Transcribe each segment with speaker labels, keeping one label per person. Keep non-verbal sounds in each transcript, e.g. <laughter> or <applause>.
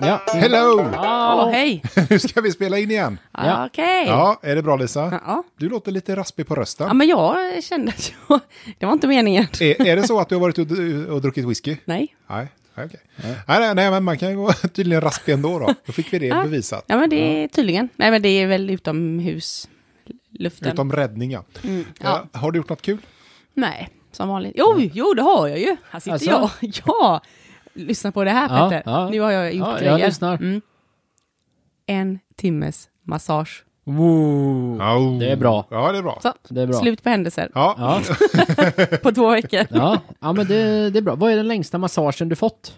Speaker 1: Ja.
Speaker 2: Hello! <laughs>
Speaker 3: Hallå, hej!
Speaker 2: Nu ska vi spela in igen.
Speaker 1: Ja.
Speaker 3: Okej.
Speaker 2: Ja, är det bra Lisa?
Speaker 3: Ja.
Speaker 2: Du låter lite raspig på
Speaker 3: ja,
Speaker 2: rösten.
Speaker 3: men jag kände att jag... <laughs> Det var inte meningen.
Speaker 2: Är, är det så att du har varit och, och druckit whisky?
Speaker 3: Nej.
Speaker 2: Nej, nej, okej. Nej, nej, nej, men man kan ju gå <laughs> tydligen raspig ändå då. Då fick vi det
Speaker 3: <laughs> Ja.
Speaker 2: bevisat.
Speaker 3: Ja, men det är tydligen. Nej, men det är väl utomhusluften.
Speaker 2: Utom räddning, ja.
Speaker 3: Mm, ja.
Speaker 2: Eh, Har du gjort något kul?
Speaker 3: Nej, som vanligt. Jo, jo, det har jag ju. Här sitter
Speaker 1: Alltså?
Speaker 3: jag. <laughs> Ja! Lyssna på det här
Speaker 1: Ja,
Speaker 3: Petter.
Speaker 1: ja.
Speaker 3: Nu har jag gjort
Speaker 1: Ja, jag
Speaker 3: grejer.
Speaker 1: lyssnar.
Speaker 3: Mm. En timmes massage.
Speaker 1: Wow.
Speaker 2: Oh.
Speaker 1: Det är bra.
Speaker 2: Ja, det är bra.
Speaker 3: Så,
Speaker 1: Det är bra.
Speaker 3: slut på händelser.
Speaker 2: Ja,
Speaker 1: Ja.
Speaker 3: På två veckor.
Speaker 1: Ja. ja, men det, det är bra. Vad är den längsta massagen du fått?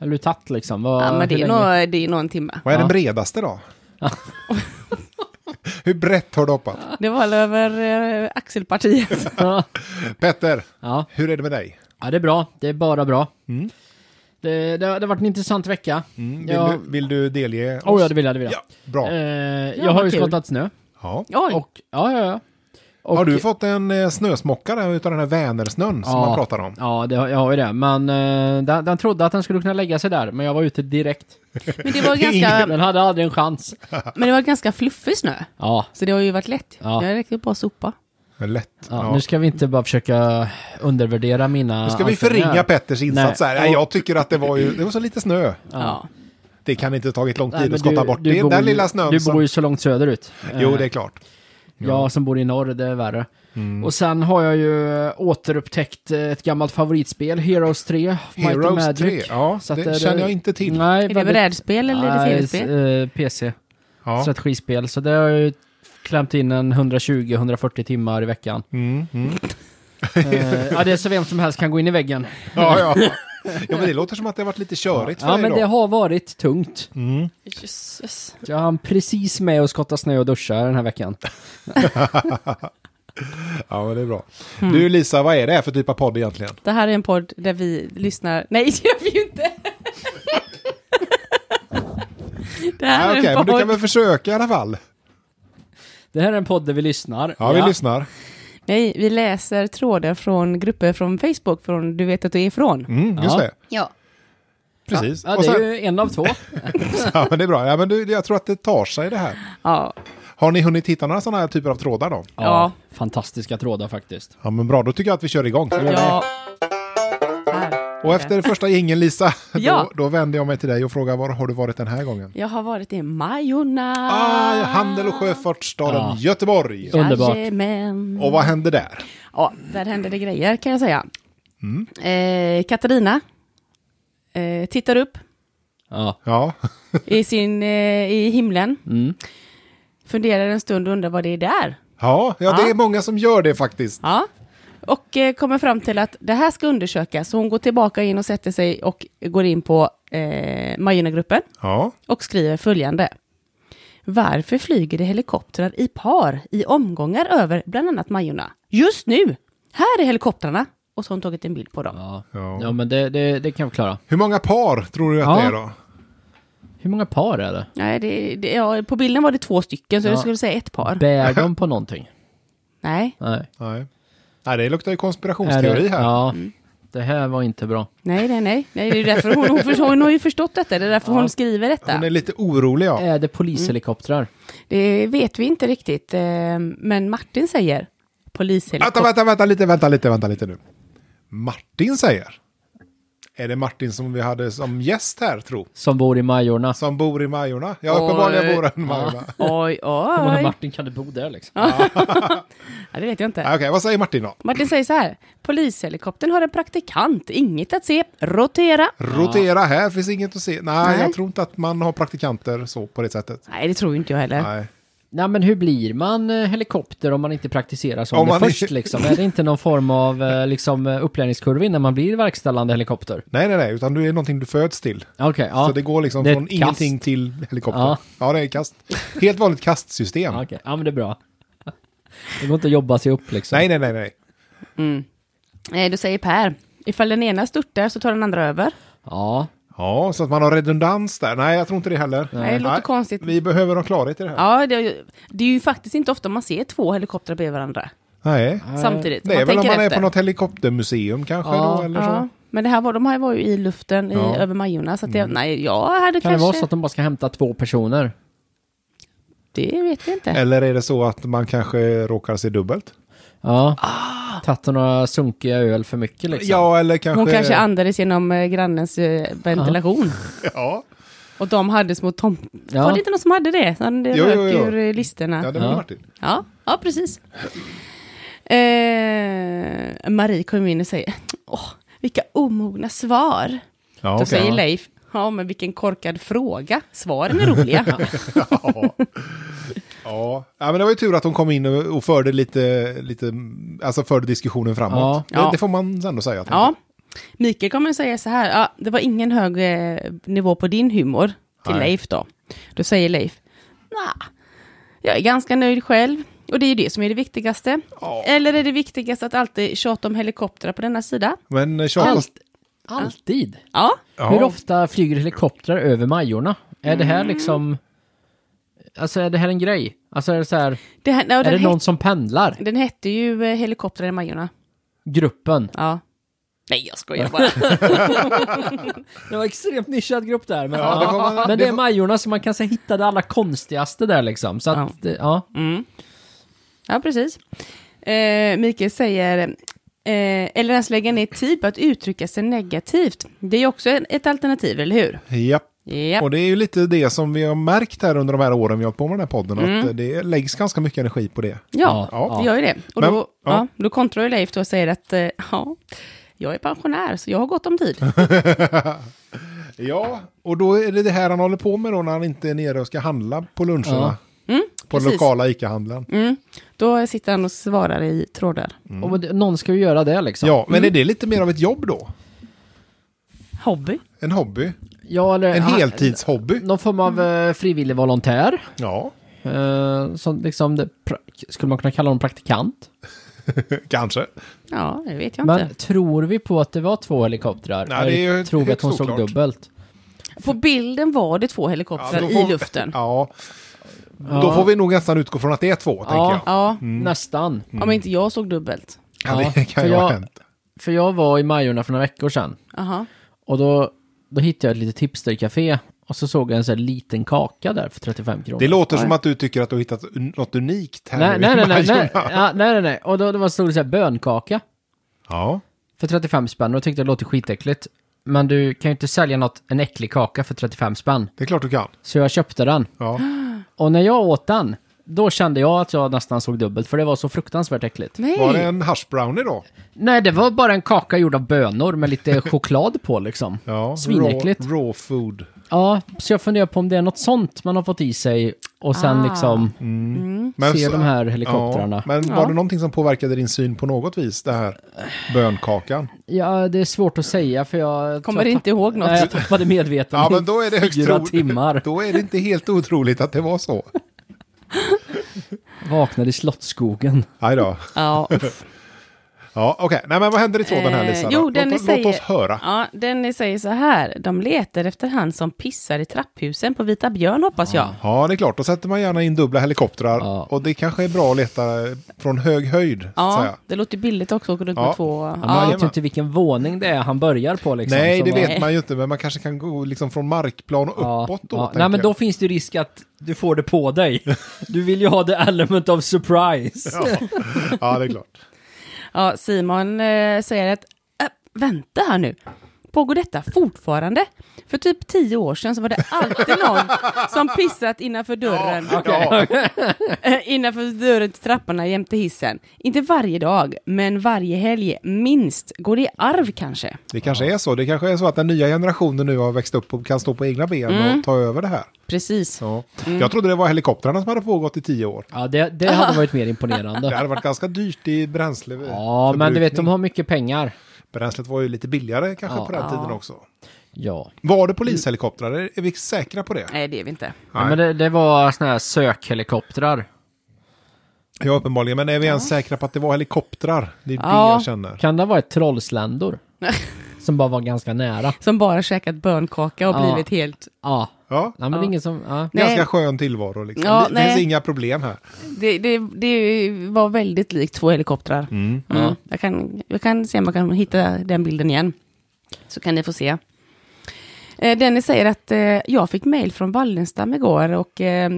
Speaker 1: Eller du tagit liksom? Vad,
Speaker 3: <laughs> Ja, men det
Speaker 1: hur
Speaker 3: är,
Speaker 1: länge?
Speaker 3: nog, det är nog en timme.
Speaker 2: vad är den
Speaker 1: Ja.
Speaker 2: bredaste
Speaker 3: <laughs>
Speaker 2: då? Hur brett har du hoppat?
Speaker 3: Det var väl över eh, axelpartiet.
Speaker 1: <laughs> Ja.
Speaker 2: Petter,
Speaker 1: Ja.
Speaker 2: hur är det med dig?
Speaker 1: ja, det är bra. Det är bara bra.
Speaker 2: Mm.
Speaker 1: Det, det, har- det har varit en intressant vecka.
Speaker 2: Vill,
Speaker 1: jag,
Speaker 2: du, vill du delge oss?
Speaker 1: Mm, Oh, ja, det vill jag. Det vill jag.
Speaker 2: Mm. Ja, bra.
Speaker 1: Eh,
Speaker 3: Ja,
Speaker 1: jag har
Speaker 3: vad
Speaker 1: ju
Speaker 3: kul.
Speaker 1: skottat snö.
Speaker 2: Ja.
Speaker 3: Oj!
Speaker 1: Och, ja, ja, ja. Och,
Speaker 2: Har du fått en eh, snösmocka där utav den här Vänersnön som man pratar om?
Speaker 1: Ja, det, har- jag har ju det. Men eh, den, den trodde att den skulle kunna lägga sig där, men jag var ute direkt.
Speaker 3: Men det
Speaker 1: <laughs>
Speaker 3: var ganska,
Speaker 1: Den hade aldrig en chans.
Speaker 3: men det var ganska fluffig snö.
Speaker 1: Ja,
Speaker 3: Så det har ju varit lätt.
Speaker 1: Ja.
Speaker 3: Det är riktigt bra sopa.
Speaker 2: Lätt.
Speaker 1: ja,
Speaker 2: Ja.
Speaker 1: Nu ska vi inte bara försöka undervärdera mina...
Speaker 2: Nu ska vi
Speaker 1: ansträngningar.
Speaker 2: förringa Petters insats
Speaker 1: Nej.
Speaker 2: här. Nej, jag tycker att det var ju, det var så lite snö.
Speaker 3: Ja.
Speaker 2: Det kan inte ha tagit lång tid
Speaker 1: Nej, men
Speaker 2: att skotta bort. det är
Speaker 1: bor
Speaker 2: den
Speaker 1: ju-
Speaker 2: lilla snön
Speaker 1: Du
Speaker 2: som...
Speaker 1: bor ju så långt söderut. Eh,
Speaker 2: Jo, det är klart. Mm.
Speaker 1: Jag som bor i norr, det är värre. Och sen har jag ju återupptäckt eh, ett gammalt favoritspel, Heroes 3. Might and
Speaker 2: Heroes
Speaker 1: Magic.
Speaker 2: 3, ja,
Speaker 1: Så att Mm.
Speaker 2: det
Speaker 1: är
Speaker 2: känner jag inte till.
Speaker 1: Nej,
Speaker 3: Är det brädspel eller är det tv-spel?
Speaker 1: Nej, eh, PC.
Speaker 2: Ja.
Speaker 1: strategispel. Så det har jag ju klämt in en 120-140 timmar i
Speaker 2: <laughs>
Speaker 1: veckan.
Speaker 2: Mm,
Speaker 1: <laughs>
Speaker 2: mm.
Speaker 1: Eh, ja, det är så vem som helst kan gå in i väggen.
Speaker 2: Ja, ja. ja, men det låter som att det har varit lite körigt för
Speaker 1: Ja,
Speaker 2: dig
Speaker 1: men
Speaker 2: då.
Speaker 1: det har varit tungt.
Speaker 2: Mm.
Speaker 3: Jösses.
Speaker 1: Jag hann precis med att skotta snö och duscha den här veckan.
Speaker 2: Ja, men det är bra.
Speaker 1: Mm.
Speaker 2: Du Lisa, vad är det här för typ av podd egentligen?
Speaker 3: Mm. Det här är en podd där vi lyssnar... Nej, det gör vi ju
Speaker 2: <laughs>
Speaker 3: inte! det här
Speaker 2: Ah, Okej,
Speaker 3: är en
Speaker 2: men du
Speaker 3: podd...
Speaker 2: kan väl försöka i alla fall?
Speaker 1: Det här är en podd där vi lyssnar.
Speaker 2: Ja, vi lyssnar.
Speaker 3: Nej, vi läser trådar från grupper från Facebook, från Du vet att du är ifrån.
Speaker 2: Mm, just
Speaker 1: Ja.
Speaker 2: det.
Speaker 3: Ja.
Speaker 2: Precis.
Speaker 1: Ja,
Speaker 2: Och
Speaker 1: det är
Speaker 2: sen,
Speaker 1: ju en av
Speaker 2: <laughs>
Speaker 1: två.
Speaker 2: ja, men det är bra. Ja, men du, jag tror att det tar sig det här.
Speaker 3: Ja.
Speaker 2: Har ni hunnit hitta några sådana här typer av trådar då?
Speaker 3: Ja.
Speaker 1: Fantastiska trådar faktiskt.
Speaker 2: Ja, men bra. Då tycker jag att vi kör igång.
Speaker 3: ja. Här.
Speaker 2: Och efter första jingeln Lisa,
Speaker 3: Ja.
Speaker 2: då, då vänder jag mig till dig och frågar var har du varit den här gången?
Speaker 3: Jag har varit i Majorna.
Speaker 2: Ah, handel och sjöfartsstaden
Speaker 1: Ja.
Speaker 2: Göteborg.
Speaker 1: Underbart.
Speaker 3: Jajamän.
Speaker 2: Och vad hände där?
Speaker 3: Ja, där hände det grejer kan jag säga. Eh, Katarina eh, tittar upp
Speaker 1: Ja.
Speaker 2: Ja,
Speaker 3: i, sin, eh, i himlen,
Speaker 1: Mm.
Speaker 3: funderar en stund och undrar vad det är där.
Speaker 2: ja, ja det
Speaker 3: Ja.
Speaker 2: är många som gör det faktiskt.
Speaker 3: Ja. Och eh, kommer fram till att det här ska undersökas, så hon går tillbaka in och sätter sig och går in på eh, Majorna-gruppen
Speaker 2: Ja,
Speaker 3: och skriver följande. Varför flyger det helikoptrar i par i omgångar över bland annat Majorna? Just nu! Här är helikoptrarna! Och så har hon tagit en bild på dem.
Speaker 1: Ja.
Speaker 2: Ja.
Speaker 1: ja, men det, det, det kan vi klara.
Speaker 2: hur många par tror du att
Speaker 1: Ja.
Speaker 2: det är då?
Speaker 1: Hur många par är det?
Speaker 3: Nej, det, det, ja, på bilden var det två stycken, så
Speaker 1: Ja.
Speaker 3: jag skulle säga ett par.
Speaker 1: Bär
Speaker 2: <laughs>
Speaker 1: de på någonting?
Speaker 3: nej,
Speaker 1: Nej.
Speaker 2: Nej. Nej, det luktar ju
Speaker 1: Är det-
Speaker 2: konspirationsteori här.
Speaker 1: Ja.
Speaker 3: Mm.
Speaker 1: Det här var inte bra.
Speaker 3: nej, nej, nej. nej det är därför hon, hon, förstår, hon har ju förstått detta, det är därför hon skriver detta.
Speaker 2: Hon är lite orolig ja.
Speaker 1: Är det polishelikoptrar?
Speaker 3: Det vet vi inte riktigt, eh, men Martin säger
Speaker 2: Vänta,
Speaker 3: polishelikopter.
Speaker 2: vänta, vänta lite, vänta lite, vänta lite nu. Martin säger. Är det Martin som vi hade som gäst här tro?
Speaker 1: Som bor i Majorna?
Speaker 2: Som bor i Majorna? Ja,
Speaker 3: Oj.
Speaker 2: uppenbarligen bor han i Majorna.
Speaker 3: Oj,
Speaker 1: Hur många
Speaker 3: oj.
Speaker 1: Martin kan det bo där liksom?
Speaker 3: Ja, det vet jag inte.
Speaker 2: Okej, vad säger Martin då?
Speaker 3: Martin säger så här. Polishelikoptern har en praktikant, inget att se, rotera.
Speaker 2: Rotera här, finns inget att se. Nej,
Speaker 3: Nej.
Speaker 2: jag tror inte att man har praktikanter så på det sättet.
Speaker 3: Nej, det tror inte jag heller.
Speaker 2: Nej.
Speaker 1: Nej men hur blir man eh, helikopter om man inte praktiserar som
Speaker 2: Om
Speaker 1: det
Speaker 2: man-
Speaker 1: först liksom? Är det inte någon form av eh, liksom, eh, upplärningskurva innan man blir verkställande helikopter?
Speaker 2: nej, nej, nej, utan du är någonting du föds till.
Speaker 1: Okej, ja.
Speaker 2: Så det går liksom
Speaker 1: Det är
Speaker 2: från
Speaker 1: ett kast.
Speaker 2: ingenting till helikopter. Ja.
Speaker 1: Ja.
Speaker 2: det är kast. Helt vanligt kastsystem.
Speaker 1: Ja, okej. ja men det är bra. Det går inte att jobba sig upp liksom.
Speaker 2: Nej, nej, nej, nej.
Speaker 3: Nej, Eh, då säger Per. Ifall den ena störtar så tar den andra över.
Speaker 1: Ja.
Speaker 2: Ja, så att man har redundans där. Nej, jag tror inte det heller.
Speaker 3: Nej, det låter konstigt.
Speaker 2: Vi behöver ha klarhet i det här.
Speaker 3: Ja, det är, ju, det är ju faktiskt inte ofta man ser två helikoptrar bredvid varandra
Speaker 2: Nej.
Speaker 3: samtidigt.
Speaker 2: Det är
Speaker 3: man
Speaker 2: väl om
Speaker 3: tänker
Speaker 2: man är
Speaker 3: efter.
Speaker 2: på något helikoptermuseum kanske
Speaker 1: Ja.
Speaker 2: då, eller så.
Speaker 3: Ja, Men det här var, de här var ju i luften i,
Speaker 2: Ja. Mm.
Speaker 3: över Majorna, så att det, nej, jag hade
Speaker 1: Kan det
Speaker 3: kanske...
Speaker 1: vara så att de bara ska hämta två personer?
Speaker 3: Det vet jag inte.
Speaker 2: Eller är det så att man kanske råkar se dubbelt?
Speaker 1: Ja. Tagit några sunkiga öl för mycket liksom.
Speaker 2: Ah. Ja, eller kanske...
Speaker 3: Hon kanske andades genom eh, grannens eh, ventilation.
Speaker 2: <laughs> Ja,
Speaker 3: Och de hade små tom...
Speaker 1: Ja.
Speaker 3: Var det inte någon som hade det? Han det
Speaker 2: Jo,
Speaker 3: rök
Speaker 2: jo, jo.
Speaker 3: ur eh, listerna.
Speaker 2: ja
Speaker 3: Ja,
Speaker 2: det var
Speaker 1: Ja.
Speaker 2: Martin.
Speaker 3: ja, precis. Eh, Marie kom in och säger, åh, vilka omogna svar.
Speaker 2: Ja,
Speaker 3: Då
Speaker 2: okej.
Speaker 3: säger Leif, ja men vilken korkad fråga, svaren är roliga.
Speaker 2: <laughs> Ja. Ja. ja, men det var ju tur att hon kom in och och förde lite, lite alltså förde diskussionen framåt.
Speaker 3: Ja.
Speaker 2: Det, det får man ändå säga. tänker
Speaker 3: ja. Mikael kommer att säga så här, ja, det var ingen hög eh, nivå på din humor till
Speaker 2: Nej.
Speaker 3: Leif då. Då säger Leif, nah, jag är ganska nöjd själv. Och det är ju det som är det viktigaste.
Speaker 2: Ja.
Speaker 3: Eller är det viktigast att alltid tjata om helikoptrar på denna sida?
Speaker 2: jag. Men eh, tjata...
Speaker 1: Allt- Alltid.
Speaker 3: Ja,
Speaker 2: Ja. Mm.
Speaker 1: Hur ofta flyger helikoptrar över Majorna? Är det här liksom... Alltså är det här en grej? Alltså är det så här...
Speaker 3: det här, ja,
Speaker 1: Är
Speaker 3: den,
Speaker 1: det någon
Speaker 3: het,
Speaker 1: som pendlar?
Speaker 3: den hette ju eh, Helikoptrar i Majorna.
Speaker 1: Gruppen?
Speaker 3: Ja. Nej, jag skojar bara.
Speaker 1: Det var extremt nischad grupp där. Men,
Speaker 2: Ja, det får man-
Speaker 1: men
Speaker 2: det
Speaker 1: det är
Speaker 2: får-
Speaker 1: Majorna så man kan säga hitta det allra konstigaste där liksom. Så att, det- ja.
Speaker 3: Mm. <laughs> Ja, precis. Eh, Mikael säger, eh, eller ens lägga ner tid på att uttrycka sig negativt. Det är ju också en- ett alternativ, eller hur?
Speaker 2: Ja.
Speaker 3: Ja.
Speaker 2: Och det är ju lite det som vi har märkt här under de här åren vi har hållit på med den här podden. Att
Speaker 3: Mm.
Speaker 2: eh, det läggs ganska mycket energi på det.
Speaker 3: Ja,
Speaker 2: Ja.
Speaker 3: det gör ju det. Och
Speaker 2: Men-
Speaker 3: då,
Speaker 2: ja.
Speaker 3: ja. då kontrar ju Leif då och säger att, eh, ja, jag är pensionär, så jag har gott
Speaker 2: <laughs>
Speaker 3: om tid.
Speaker 2: Ja, och då är det det här han håller på med då när han inte är nere och ska handla på luncherna.
Speaker 1: Ja.
Speaker 3: Mm,
Speaker 2: På den
Speaker 3: precis.
Speaker 2: lokala ICA-handlaren.
Speaker 3: Mm. Då sitter han och svarar i trådar.
Speaker 1: Och men det- någon ska ju göra det liksom.
Speaker 2: Ja, men är det lite mer av ett jobb då?
Speaker 3: Hobby.
Speaker 2: En hobby?
Speaker 1: Ja, eller,
Speaker 2: En
Speaker 1: ah,
Speaker 2: heltidshobby?
Speaker 1: Någon form av
Speaker 3: Mm.
Speaker 1: eh, frivillig volontär.
Speaker 2: Ja,
Speaker 1: Eh, som liksom, det, pra- skulle man kunna kalla honom praktikant?
Speaker 2: kanske.
Speaker 3: Ja, det vet jag
Speaker 1: Men
Speaker 3: inte.
Speaker 1: tror vi på att det var två helikoptrar?
Speaker 2: Nej, det är ju
Speaker 1: Eller tror vi
Speaker 2: helt
Speaker 1: att hon såg
Speaker 2: såklart.
Speaker 1: dubbelt?
Speaker 3: På bilden var det två helikoptrar
Speaker 2: då får-
Speaker 3: i luften. Ja.
Speaker 2: Ja. Då
Speaker 1: Ja.
Speaker 2: får vi nog nästan utgå från att det är två, tänker jag.
Speaker 1: Nästan.
Speaker 3: Om inte jag såg dubbelt.
Speaker 2: Mm. Ja, det
Speaker 1: Ja,
Speaker 2: kan
Speaker 1: för
Speaker 2: ju ha
Speaker 1: jag-
Speaker 2: hänt.
Speaker 1: För jag var i Majorna för några veckor sedan.
Speaker 3: Aha.
Speaker 1: Och då, då hittade jag ett litet hipstercafé. Och så såg jag en sån här liten kaka där för 35 kronor.
Speaker 2: Det låter som att du tycker att du har hittat un- något unikt här
Speaker 1: nej,
Speaker 2: i
Speaker 1: nej, nej, nej,
Speaker 2: Majorna.
Speaker 1: nej, ja, nej, nej, nej. Och då, det var en stor så här bönkaka.
Speaker 2: Ja.
Speaker 1: för 35 spänn och tyckte det låter skitäckligt. Men du kan ju inte sälja något, en äcklig kaka för 35 spänn.
Speaker 2: Det är klart du kan.
Speaker 1: Så jag köpte den.
Speaker 2: Ja.
Speaker 1: Och när jag åt den, då kände jag att jag nästan såg dubbelt för det var så fruktansvärt äckligt.
Speaker 3: Nej.
Speaker 2: Var det en hash brownie då?
Speaker 1: Nej, det var bara en kaka gjord av bönor med
Speaker 2: <laughs>
Speaker 1: lite choklad på liksom.
Speaker 2: Ja.
Speaker 1: Svinäckligt.
Speaker 2: Raw, raw food.
Speaker 1: Ja, så jag funderar på om det är något sånt man har fått i sig och sen
Speaker 3: Ah.
Speaker 1: liksom
Speaker 2: Mm. Men
Speaker 1: ser
Speaker 2: så-
Speaker 1: de här helikoptrarna.
Speaker 2: Ja, men var
Speaker 3: Ja.
Speaker 2: det någonting som påverkade din syn på något vis, det här bönkakan?
Speaker 1: Ja, det är svårt att säga för jag...
Speaker 3: Kommer
Speaker 1: jag
Speaker 3: inte ihåg något.
Speaker 1: Nej, jag tappade
Speaker 2: Ja,
Speaker 1: medvetandet
Speaker 2: men då är det
Speaker 1: i
Speaker 2: högst
Speaker 1: fyra
Speaker 2: tro-
Speaker 1: timmar.
Speaker 2: <laughs> Då är det inte helt otroligt att det var så.
Speaker 1: Vaknade i Slottsskogen.
Speaker 2: Aj då.
Speaker 3: Ja,
Speaker 2: Ja, okej. Nej, men vad händer i tråden här,
Speaker 3: Eh,
Speaker 2: Lisa? då?
Speaker 3: jo,
Speaker 2: låt,
Speaker 3: den
Speaker 2: låt,
Speaker 3: säger-
Speaker 2: låt oss höra.
Speaker 3: ja, den säger så här. De letar efter han som pissar i trapphusen på Vita Björn, hoppas jag.
Speaker 2: Ja, det är klart. Då sätter man gärna in dubbla helikoptrar.
Speaker 1: Ja.
Speaker 2: Och det kanske är bra att leta från hög höjd. så att
Speaker 3: Ja,
Speaker 2: säga.
Speaker 3: det låter billigt också att gå runt
Speaker 2: Ja.
Speaker 3: med två...
Speaker 1: Ja, man
Speaker 3: Ja,
Speaker 1: vet ju inte vilken våning det är han börjar på liksom.
Speaker 2: Nej,
Speaker 1: Så
Speaker 2: det
Speaker 1: man-
Speaker 2: vet man ju inte. Men man kanske kan gå liksom från markplan och
Speaker 1: Ja,
Speaker 2: uppåt då.
Speaker 1: ja.
Speaker 2: tänker
Speaker 1: Nej, men då
Speaker 2: jag.
Speaker 1: finns det ju risk att du får det på
Speaker 2: <laughs>
Speaker 1: dig. Du vill ju ha the element of surprise.
Speaker 2: Ja, det är klart.
Speaker 3: ja, Simon eh, säger att... Äh, vänta här nu. Pågår detta fortfarande? För typ tio år sedan så var det alltid någon som pissat innanför dörren.
Speaker 2: Ja.
Speaker 3: <laughs> Eh, Innanför dörren till trapporna jämte hissen. Inte varje dag, men varje helg minst. Går det i arv kanske?
Speaker 2: Det kanske är så. Det kanske är så att den nya generationen nu har växt upp och kan stå på egna ben
Speaker 3: Mm.
Speaker 2: och ta över det här.
Speaker 3: Precis.
Speaker 2: Ja. Jag trodde det var helikoptrarna som hade pågått i tio år.
Speaker 1: Ja, det, det hade varit mer
Speaker 2: <laughs>
Speaker 1: imponerande.
Speaker 2: Det hade varit ganska dyrt i bränsle.
Speaker 3: <laughs>
Speaker 1: Ja, men du vet, de
Speaker 2: förbrukning.
Speaker 1: har mycket pengar.
Speaker 2: Bränslet var ju lite billigare kanske
Speaker 1: Ja.
Speaker 2: på den tiden också.
Speaker 1: Ja.
Speaker 2: Var det polishelikoptrar? Är är vi säkra på det?
Speaker 3: Nej, det är vi inte.
Speaker 1: ja men det, det var såna här sökhelikoptrar.
Speaker 2: Ja, uppenbarligen. Men är vi ens säkra på att det var helikoptrar? Det är det
Speaker 3: Ja.
Speaker 2: jag känner.
Speaker 1: Kan det ha varit
Speaker 2: <laughs>
Speaker 1: trollsländor? Som bara var ganska nära.
Speaker 3: Som bara käkat bönkaka och
Speaker 1: Ja.
Speaker 3: blivit helt...
Speaker 1: Ja.
Speaker 2: Ja.
Speaker 1: Nej, men det är ingen som... Ja.
Speaker 3: Nej.
Speaker 2: Ganska skön tillvaro liksom.
Speaker 3: Ja,
Speaker 2: det, det finns
Speaker 3: nej.
Speaker 2: inga problem här.
Speaker 3: Det, det, det var väldigt likt två helikoptrar. Mm. Jag, kan, jag kan se om jag kan hitta den bilden igen. så kan ni få se. Eh, Dennis säger att eh, jag fick mejl från Wallenstam igår och eh,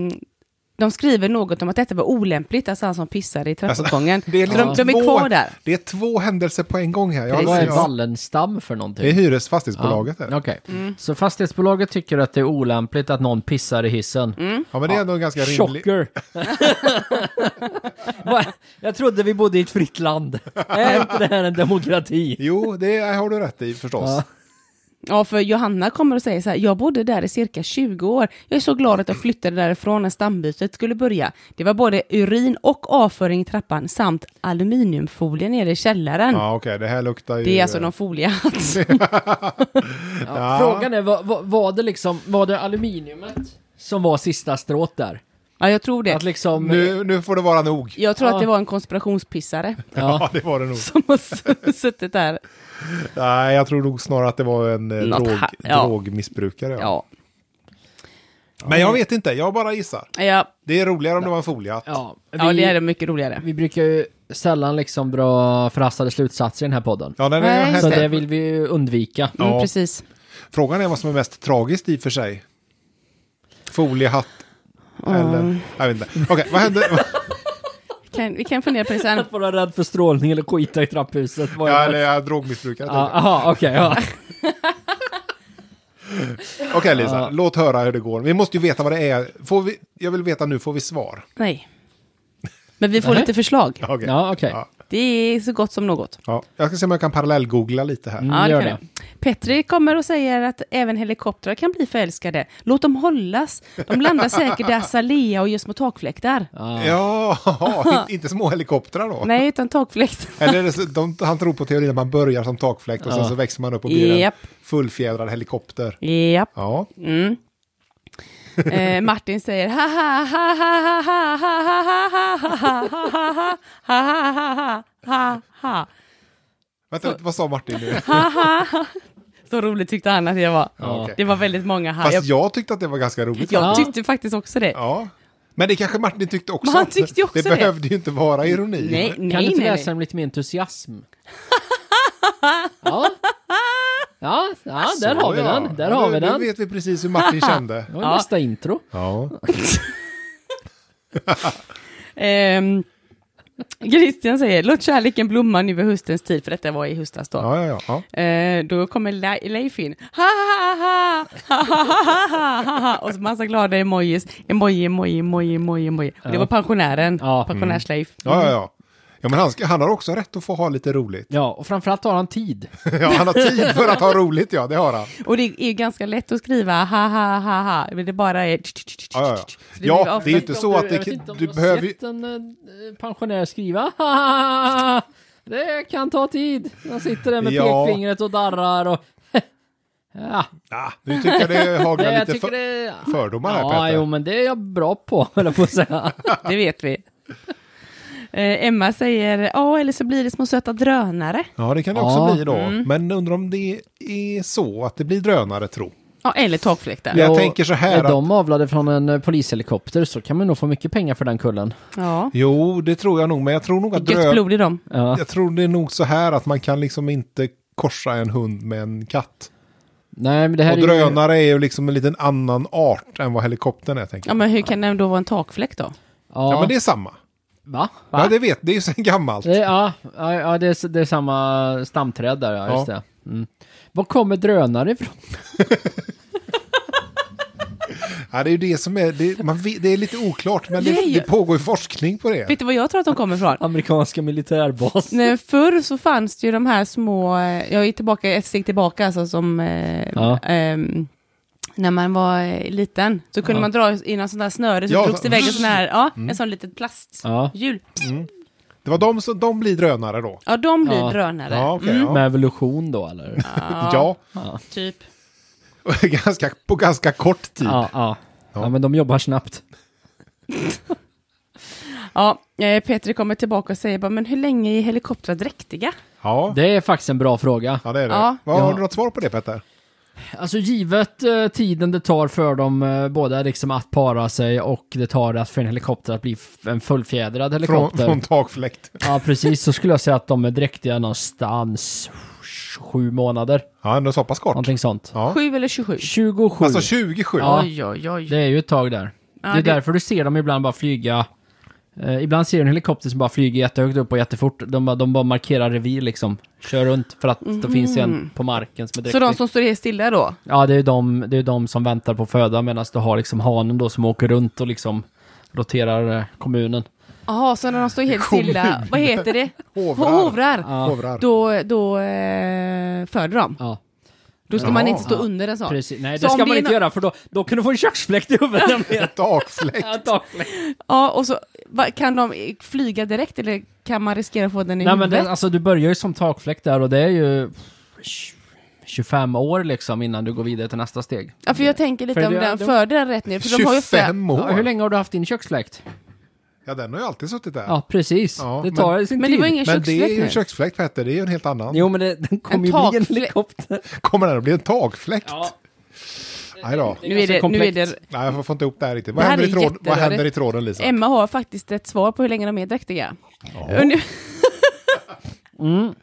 Speaker 3: de skriver något om att detta var olämpligt, alltså han som pissade i trappuppgången.
Speaker 2: Det är,
Speaker 3: så de,
Speaker 2: liksom
Speaker 3: de är
Speaker 2: två,
Speaker 3: kvar där.
Speaker 2: det är två händelser på en gång här. Jag,
Speaker 1: Vad är
Speaker 2: jag,
Speaker 1: Wallenstam för
Speaker 2: det är
Speaker 1: någonting?
Speaker 2: hyresfastighetsbolaget. här.
Speaker 1: Ja, Okej. Så fastighetsbolaget tycker att det är olämpligt att någon pissar i hissen.
Speaker 2: Ja, men det är ändå en ganska rimlig...
Speaker 1: Chocker! Va? jag trodde vi bodde i ett fritt land. Är inte det här en demokrati?
Speaker 2: Jo, det har du rätt i förstås.
Speaker 1: Ja.
Speaker 3: Ja, för Johanna kommer och säger så här, jag bodde där i cirka 20 år. Jag är så glad att jag flyttade därifrån när stambytet skulle börja. Det var både urin och avföring i trappan samt aluminiumfolie nere i källaren.
Speaker 2: Ja, okej, det här luktar ju...
Speaker 3: Det är alltså någon foliehatt.
Speaker 1: Ja. Frågan är, vad- vad- var det liksom, var det aluminiumet som var sista strået där?
Speaker 3: <laughs> Ja, jag tror det.
Speaker 1: Att liksom...
Speaker 2: nu, nu får det vara nog.
Speaker 3: Jag tror
Speaker 1: Ja.
Speaker 3: att det var en konspirationspissare <laughs>
Speaker 2: <laughs> Ja,
Speaker 1: Ja.
Speaker 2: det var det nog.
Speaker 3: som har s- <laughs> suttit där.
Speaker 2: Nej, jag tror nog snarare att det var en eh,
Speaker 3: Något
Speaker 2: drog,
Speaker 3: ha- ja.
Speaker 2: drogmissbrukare. Ja.
Speaker 3: Ja,
Speaker 2: Men jag vet inte, jag bara gissar.
Speaker 3: ja,
Speaker 2: Det är roligare om det var en foliehatt.
Speaker 1: Ja, vi,
Speaker 3: ja det är mycket roligare. Mm,
Speaker 1: vi brukar ju sällan liksom dra förhastade slutsatser i den här podden.
Speaker 2: Ja, nej, nej,
Speaker 3: Nej,
Speaker 2: jag
Speaker 1: Så
Speaker 3: just
Speaker 2: hävdar-
Speaker 1: det vill vi ju undvika.
Speaker 2: Ja.
Speaker 3: Mm, precis.
Speaker 2: Frågan är vad som är mest tragiskt i och för sig. Foliehatt eller... Jag vet inte. Okej, vad hände?
Speaker 3: Kan, vi kan fundera på
Speaker 1: <laughs>
Speaker 3: det
Speaker 1: <laughs>
Speaker 3: sen.
Speaker 1: Att vara rädd för strålning eller skita i trapphuset. Var
Speaker 2: ja,
Speaker 1: jag-
Speaker 2: eller jag är drogmissbrukare.
Speaker 1: Ja,
Speaker 2: tänkte
Speaker 1: Jaha, okej. ja.
Speaker 2: jag. Okej, Lisa. Låt höra hur det går. Vi måste ju veta vad det är. Får vi... Jag vill veta nu, får vi svar?
Speaker 3: Nej. Men vi får
Speaker 1: Nej.
Speaker 3: lite förslag.
Speaker 2: Ja, okej.
Speaker 1: Ja, okej.
Speaker 2: Ja.
Speaker 3: Det är så gott som något.
Speaker 2: Ja. Jag ska se om jag kan parallellgoogla lite här.
Speaker 1: Mm,
Speaker 3: Ja, det
Speaker 1: gör
Speaker 3: kan
Speaker 1: det.
Speaker 3: det. Petri kommer och säger att även helikoptrar kan bli förälskade. Låt dem hållas. De landar säkert där azalea och gör små takfläktar.
Speaker 2: Ja,
Speaker 1: Ah.
Speaker 2: inte- <laughs> inte små helikoptrar då.
Speaker 3: Nej, utan takfläkt.
Speaker 2: Eller är det så- de, han tror på teorin att man börjar som takfläkt och sen så växer man upp och blir
Speaker 3: Japp.
Speaker 2: en fullfjädrad helikopter.
Speaker 3: Japp.
Speaker 2: Ja,
Speaker 3: Eh, Martin säger ha ha ha ha ha ha ha ha ha ha ha ha ha ha
Speaker 2: vänta lite, vad sa Martin
Speaker 3: <laughs>
Speaker 2: nu?
Speaker 3: Så roligt tyckte han att jag var.
Speaker 2: Ja, okej.
Speaker 3: Det var väldigt många ha.
Speaker 2: Fast
Speaker 3: Jag,
Speaker 2: jag tyckte att det var ganska roligt.
Speaker 1: Ja.
Speaker 3: jag tyckte faktiskt också det.
Speaker 2: Ja. Men det kanske Martin tyckte också.
Speaker 3: Men han tyckte ju också
Speaker 2: det,
Speaker 3: det.
Speaker 2: behövde ju inte vara ironi.
Speaker 3: Nej,
Speaker 1: Kan du
Speaker 3: nej,
Speaker 1: inte
Speaker 3: nej.
Speaker 1: läsa med lite mer entusiasm? ja. Ja, ja där har vi
Speaker 2: Så, ja.
Speaker 1: den. Där
Speaker 2: Ja,
Speaker 1: har
Speaker 2: nu,
Speaker 1: vi den.
Speaker 2: Nu
Speaker 1: Det
Speaker 2: vet vi precis hur
Speaker 3: <laughs>
Speaker 2: Martin kände.
Speaker 1: var
Speaker 3: Ja.
Speaker 1: nästa intro.
Speaker 2: Ja.
Speaker 3: Ehm, Christian säger, låt kärleken blomma nu i höstens tid, för detta var i höstas då.
Speaker 2: Ja, ja, ja, ja.
Speaker 3: Eh, då kommer Le- Leif in. Ha, ha, ha, ha, ha, ha, ha, ha, ha. Och så massa glada emojis. Emoji, emoji, emoji, emoji, emoji. Och det var pensionären.
Speaker 1: Ja.
Speaker 3: Pensionärs-Leif.
Speaker 2: Ja, ja, ja. Ja, men han, ska, han har också rätt att få ha lite roligt.
Speaker 1: Ja, och framförallt har han tid.
Speaker 2: Ja, han har tid för att ha roligt, ja, det har han.
Speaker 3: Och det är ju ganska lätt att skriva ha, ha, ha, ha. Men det bara är...
Speaker 2: Ja, ja, ja.
Speaker 3: Så blir
Speaker 2: ja det är
Speaker 3: ofta-
Speaker 2: ju inte så att
Speaker 1: Jag vet
Speaker 2: det,
Speaker 1: inte om
Speaker 2: du
Speaker 1: har
Speaker 2: behöver ju...
Speaker 1: sett en eh, pensionär skriva <laughs> Det kan ta tid. De sitter där med
Speaker 2: Ja.
Speaker 1: pekfingret och darrar och... <laughs> ja,
Speaker 2: Ah, nu tycker <laughs> jag det
Speaker 1: nej,
Speaker 2: haglar
Speaker 1: jag
Speaker 2: lite
Speaker 1: tycker
Speaker 2: för,
Speaker 1: det...
Speaker 2: fördomar här,
Speaker 1: Ja,
Speaker 2: Petter.
Speaker 1: jo, men det är jag bra på, <laughs> höll jag på att säga.
Speaker 3: Det vet vi. Eh, Emma säger, ja, eller så blir det små söta drönare.
Speaker 2: Ja, det kan det också
Speaker 1: Ja. Mm.
Speaker 2: bli då. Men undrar om det är så att det blir drönare, tro.
Speaker 3: Ja, eller takfläktar.
Speaker 2: Jag
Speaker 1: Och
Speaker 2: tänker så här
Speaker 1: Är
Speaker 2: att-
Speaker 1: de avlade från en eh, polishelikopter så kan man nog få mycket pengar för den kullen.
Speaker 3: Ja.
Speaker 2: Jo, det tror jag nog, men jag tror nog att
Speaker 3: Gött
Speaker 2: drö...
Speaker 3: blod i dem.
Speaker 1: Ja.
Speaker 2: Jag tror det är nog så här att man kan liksom inte korsa en hund med en katt.
Speaker 1: Nej, men det här
Speaker 2: Och
Speaker 1: är ju...
Speaker 2: drönare är ju liksom en liten annan art än vad helikoptern är, tänker
Speaker 3: Ja,
Speaker 2: jag.
Speaker 3: men hur kan den då vara en takfläkt då?
Speaker 1: Ja,
Speaker 2: Ja, men det är samma.
Speaker 1: Va?
Speaker 2: Ja, det vet, det är ju sen gammalt.
Speaker 1: Det, ja, ja, ja det, är, det är samma stamträd där, ja, just
Speaker 2: Ja.
Speaker 1: det. Mm. Var kommer drönare ifrån? <laughs>
Speaker 2: Ja, det är ju det som är, det, man vet, det är lite oklart, men det,
Speaker 3: Det är ju-
Speaker 2: det pågår ju forskning på det.
Speaker 3: Vet du var jag tror att de kommer ifrån?
Speaker 1: Amerikanska militärbas.
Speaker 3: <laughs> Nej, förr så fanns det ju de här små, eh, jag är tillbaka ett steg tillbaka, alltså som eh,
Speaker 1: Ja.
Speaker 3: ehm, när man var eh, liten, så kunde man dra i någon sån där snöre, så
Speaker 2: Ja,
Speaker 3: drogs
Speaker 2: så-
Speaker 3: det iväg en sån här, Mm. ja, en sån litet
Speaker 1: Ja.
Speaker 3: plasthjul. Ja.
Speaker 2: Det var de som, de blir drönare då.
Speaker 3: de blir
Speaker 1: Ja.
Speaker 3: drönare,
Speaker 2: Ja, okej. ja.
Speaker 1: Med evolution då, eller?
Speaker 2: ja. <laughs>
Speaker 3: typ.
Speaker 2: ganska, på ganska kort tid.
Speaker 1: Ja, ja. Ja, men de jobbar snabbt.
Speaker 3: Ja, eh, Petri kommer tillbaka och säger bara, men hur länge är helikoptrar dräktiga?
Speaker 2: Ja.
Speaker 1: Det är faktiskt en bra fråga.
Speaker 2: Ja, det är det.
Speaker 3: Ja.
Speaker 2: Vad, Har
Speaker 1: Ja.
Speaker 2: du något svar på det, Petter?
Speaker 1: Alltså givet eh, tiden det tar för dem eh, båda liksom att para sig och det tar att för en helikopter att bli f- en fullfjädrad
Speaker 2: Från,
Speaker 1: helikopter.
Speaker 2: från takfläkt.
Speaker 1: Ja, precis. Så skulle jag säga att de är dräktiga någonstans sju månader.
Speaker 2: Ja, ändå så pass kort.
Speaker 1: Någonting sånt.
Speaker 2: Ja.
Speaker 3: 7 eller 27?
Speaker 1: 27.
Speaker 2: Alltså 27.
Speaker 1: Ja.
Speaker 3: Oj, oj, oj.
Speaker 1: det är ju ett tag där. det
Speaker 3: Ja,
Speaker 1: är
Speaker 3: det-
Speaker 1: därför du ser dem ibland bara flyga. Eh, ibland ser du en helikopter som bara flyger jättehögt upp och jättefort. De, bara- de bara markerar revir liksom. Kör runt för att det finns en på marken som är direkt...
Speaker 3: Mm. Så de som står helt stilla då?
Speaker 1: Ja, det är ju de, det är ju de som väntar på föda medan du har liksom hanen då som åker runt och liksom roterar eh, kommunen.
Speaker 3: Jaha, så när de
Speaker 2: <laughs>
Speaker 3: står helt stilla, vad heter det?
Speaker 2: Hovrar.
Speaker 3: Hovrar.
Speaker 1: Ja.
Speaker 2: Hovrar.
Speaker 3: Då, då eh, föder de.
Speaker 1: Ja,
Speaker 3: Då ska man
Speaker 2: Ja.
Speaker 3: inte stå
Speaker 1: Ja.
Speaker 3: under en sån.
Speaker 1: precis. Nej,
Speaker 3: Så
Speaker 1: det
Speaker 3: om
Speaker 1: ska man
Speaker 3: är
Speaker 1: inte
Speaker 3: nå-
Speaker 1: göra för då, då kan du få en köksfläkt i huvudet.
Speaker 3: <laughs>
Speaker 1: nämligen.
Speaker 2: Takfläck.
Speaker 1: <laughs> Ja, takfläkt.
Speaker 3: Ja, och så va, kan de eh, flyga direkt eller kan man riskera att få den i
Speaker 1: Nej men
Speaker 3: huvudet?
Speaker 1: det, alltså du börjar ju som takfläkt där och det är ju 25 år liksom innan du går vidare till nästa steg.
Speaker 3: ja, för jag tänker lite
Speaker 1: För
Speaker 3: om
Speaker 1: det-
Speaker 3: den
Speaker 1: de-
Speaker 3: föder den rätt ner, för de har ju fem.
Speaker 2: 25 år.
Speaker 1: Ja, hur länge har du haft din köksfläkt?
Speaker 2: Ja, den har ju alltid suttit där.
Speaker 1: Ja, precis.
Speaker 2: Ja,
Speaker 1: det tar sin
Speaker 3: Men
Speaker 1: tid.
Speaker 3: det var ingen
Speaker 2: Men det är
Speaker 3: köksfläkt
Speaker 2: ju en
Speaker 3: nu.
Speaker 2: köksfläkt Petter, det är ju en helt annan.
Speaker 1: Jo, men det, den
Speaker 3: En
Speaker 1: kommer ju bli en
Speaker 3: takfläkt.
Speaker 1: helikopter.
Speaker 2: Kommer den att bli en takfläkt?
Speaker 1: Ja.
Speaker 2: Nej då.
Speaker 3: Nu är det, nu är det,
Speaker 2: Nej, jag får inte ihop det här riktigt. Vad,
Speaker 3: Det här
Speaker 2: händer, i
Speaker 3: är
Speaker 2: tråd, vad
Speaker 3: jätterörigt.
Speaker 2: händer i tråden Lisa?
Speaker 3: Emma har faktiskt ett svar på hur länge de är dräktiga.
Speaker 1: <laughs>
Speaker 3: Ungef-
Speaker 1: Mm.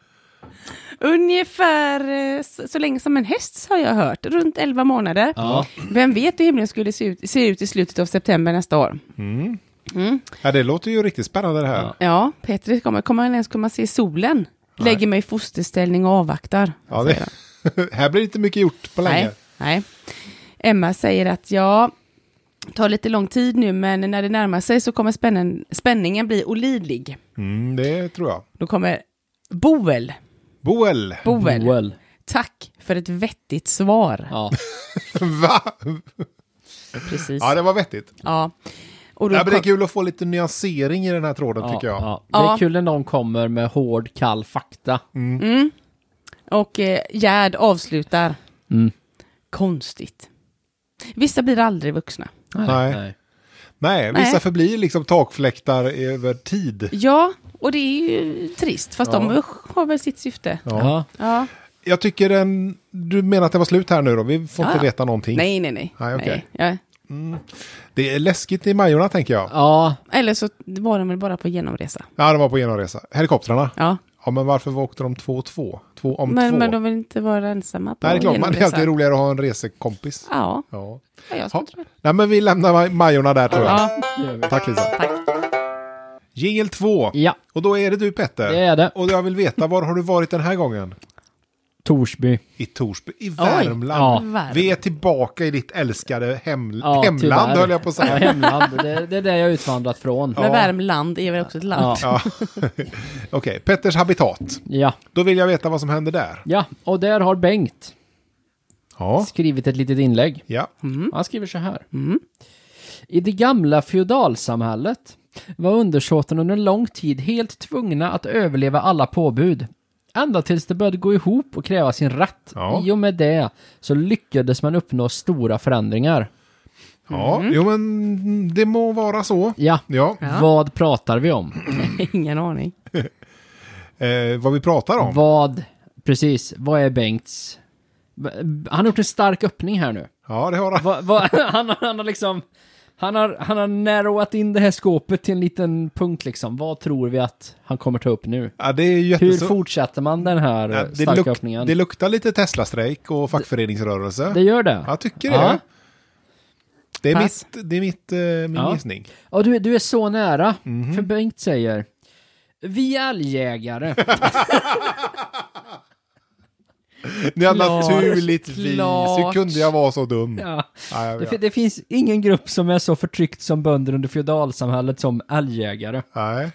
Speaker 3: Ungefär eh, s- så länge som en häst har jag hört, runt 11 månader.
Speaker 1: Ja.
Speaker 3: Vem vet hur himlen skulle se ut, se ut i slutet av september nästa år?
Speaker 2: Ja, det låter ju riktigt spännande det här. Ja,
Speaker 3: Ja, Petri kommer, kommer han ens komma se solen? Lägger mig i fosterställning och avvaktar.
Speaker 2: det, <laughs> här blir inte mycket gjort på länge.
Speaker 3: Nej, nej. Emma säger att ja, tar lite lång tid nu, men när det närmar sig så kommer spännen, spänningen bli olidlig.
Speaker 2: Mm, det tror jag.
Speaker 3: Då kommer Boel.
Speaker 2: Boel. <laughs>
Speaker 3: Boel.
Speaker 1: Well.
Speaker 3: Tack för ett vettigt svar.
Speaker 1: Ja.
Speaker 2: Va?
Speaker 3: Precis.
Speaker 2: Ja,
Speaker 3: Ja,
Speaker 2: det var vettigt.
Speaker 3: Och då
Speaker 2: Ja, men det är
Speaker 3: kom,
Speaker 2: kul att få lite nyansering i den här tråden <laughs> tycker jag.
Speaker 1: Ja, ja. Det är
Speaker 3: Ja.
Speaker 1: kul när någon kommer med hård, kall fakta.
Speaker 2: Mm.
Speaker 3: och eh, Gerd avslutar.
Speaker 1: Mm.
Speaker 3: Konstigt. Vissa blir aldrig vuxna.
Speaker 2: Nej. Nej, vissa
Speaker 3: Nej.
Speaker 2: förblir liksom takfläktar över tid.
Speaker 3: Ja, och det är ju trist, fast de
Speaker 2: Ja.
Speaker 3: har väl sitt syfte. Ja.
Speaker 2: Ja. Jag tycker den... Du menar att det var slut här nu då? Vi får
Speaker 3: Ja,
Speaker 2: inte
Speaker 3: ja.
Speaker 2: veta någonting.
Speaker 3: Nej, nej, nej.
Speaker 2: Nej, okej.
Speaker 3: nej.
Speaker 2: Det är läskigt i Majorna tänker jag.
Speaker 1: Ja,
Speaker 3: Ja. Eller så var de väl bara på genomresa.
Speaker 2: Ja, de var på genomresa. Helikoptrarna.
Speaker 3: Ja.
Speaker 2: Ja, men varför åkte de två och två? Två om två?
Speaker 3: Men, men de vill inte vara ensamma på
Speaker 2: Nej, det är klart, man, det är
Speaker 3: genomresa.
Speaker 2: alltid roligare att ha en resekompis.
Speaker 3: Ja,
Speaker 2: Ja.
Speaker 3: ja, jag
Speaker 2: Ha.
Speaker 3: skulle tro det.
Speaker 2: Nej, men vi lämnar Maj- Majorna där tror jag.
Speaker 3: Ja,
Speaker 2: Tack Lisa.
Speaker 3: Tack.
Speaker 2: Jingel 2.
Speaker 1: ja,
Speaker 2: Och då är det du Petter.
Speaker 1: det är det.
Speaker 2: Och jag vill veta, var har du varit den här gången?
Speaker 1: Torsby.
Speaker 2: I Torsby, i Värmland.
Speaker 1: Ja.
Speaker 3: varmt.
Speaker 2: Vi är tillbaka i ditt älskade hem,
Speaker 1: Ja,
Speaker 2: hemland
Speaker 1: tyvärr.
Speaker 2: höll jag på att
Speaker 1: Ja,
Speaker 2: säga.
Speaker 1: hemland. Det, det är det jag är utvandrat från.
Speaker 3: Men Värmland är väl också ett land?
Speaker 1: Ja.
Speaker 2: Ja. Okej, Petters habitat.
Speaker 1: Ja.
Speaker 2: Då vill jag veta vad som händer där.
Speaker 1: ja, och där har Bengt
Speaker 2: Ja.
Speaker 1: skrivit ett litet inlägg.
Speaker 2: Ja.
Speaker 1: Han skriver så här. I det gamla feodalsamhället var undersåten under en lång tid helt tvungna att överleva alla påbud. Ända tills det började gå ihop och kräva sin rätt.
Speaker 2: Ja.
Speaker 1: I och med det så lyckades man uppnå stora förändringar.
Speaker 2: ja. Jo, men det må vara så.
Speaker 1: Ja,
Speaker 2: Ja,
Speaker 3: Ja.
Speaker 1: vad pratar vi om?
Speaker 3: <laughs> Ingen aning.
Speaker 2: Eh, vad vi pratar om.
Speaker 1: Vad, precis, vad är Bengts... Han har gjort en stark öppning här nu.
Speaker 2: Ja, det har han.
Speaker 1: Vad- vad- <laughs> han, har- han har liksom... Han har, han har narrowat in det här skåpet till en liten punkt liksom. Vad tror vi att han kommer ta upp nu?
Speaker 2: Ja, det är ju
Speaker 1: Hur
Speaker 2: jätteså-
Speaker 1: fortsätter man den här
Speaker 2: Ja,
Speaker 1: eh,
Speaker 2: det,
Speaker 1: starka
Speaker 2: luk
Speaker 1: öppningen?
Speaker 2: det
Speaker 1: Det,
Speaker 2: luktar lite Tesla-strejk och fackföreningsrörelse.
Speaker 1: gör det.
Speaker 2: Jag tycker det.
Speaker 1: Ja.
Speaker 2: Det är,
Speaker 3: Pass.
Speaker 2: mitt, det är mitt, eh, min
Speaker 1: Ja.
Speaker 2: gissning.
Speaker 1: Ja, du, du är så nära.
Speaker 2: Mhm.
Speaker 1: För Bengt säger... Vi
Speaker 2: <laughs>
Speaker 1: älgjägare.
Speaker 2: Ja,
Speaker 3: Klart,
Speaker 2: naturligtvis. Hur
Speaker 3: klart.
Speaker 2: kunde jag vara så dum?
Speaker 1: ja.
Speaker 2: Ja, jag
Speaker 1: det,
Speaker 2: vet.
Speaker 1: fi- det finns ingen grupp som är så förtryckt som bönder under feodalsamhället som älgjägare.
Speaker 2: Nej.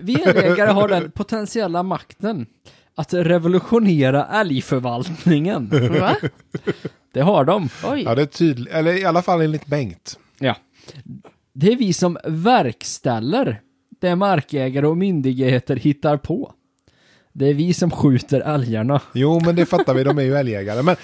Speaker 1: Vi ägare har den potentiella makten att revolutionera älgförvaltningen.
Speaker 2: <laughs>
Speaker 3: Va?
Speaker 1: Det har de.
Speaker 3: Oj.
Speaker 2: Ja, det är tydligt. Eller i alla fall enligt Bengt.
Speaker 1: Ja. Det är vi som verkställer det markägare och myndigheter hittar på. Det är vi som skjuter älgarna.
Speaker 2: Jo, men det fattar vi. De är ju älgjägare. Men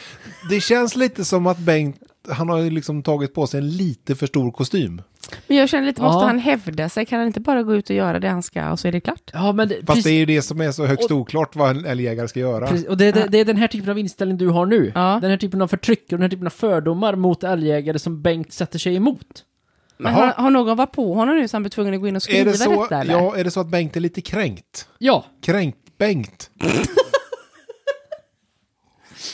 Speaker 2: det känns lite som att Bengt, han har ju liksom tagit på sig en lite för stor kostym.
Speaker 3: Men jag känner lite,
Speaker 1: Ja.
Speaker 3: måste han hävda sig? Kan han inte bara gå ut och göra det han ska och så är det klart?
Speaker 1: Ja, men det,
Speaker 2: Fast
Speaker 1: precis-
Speaker 2: det är ju det som är så högst oklart vad en älgjägare ska göra.
Speaker 1: precis- och det, det, det är den här typen av inställning du har nu.
Speaker 3: Ja.
Speaker 1: Den här typen av förtryck och den här typen av fördomar mot älgjägare som Bengt sätter sig emot.
Speaker 3: Men
Speaker 2: Jaha.
Speaker 3: har, har någon varit på honom nu så han blir tvungen att gå in och skriva
Speaker 2: Är det, så,
Speaker 3: detta eller?
Speaker 2: ja, är det så att Bengt är lite kränkt?
Speaker 1: Ja,
Speaker 2: Kränkt Bengt?
Speaker 3: <laughs>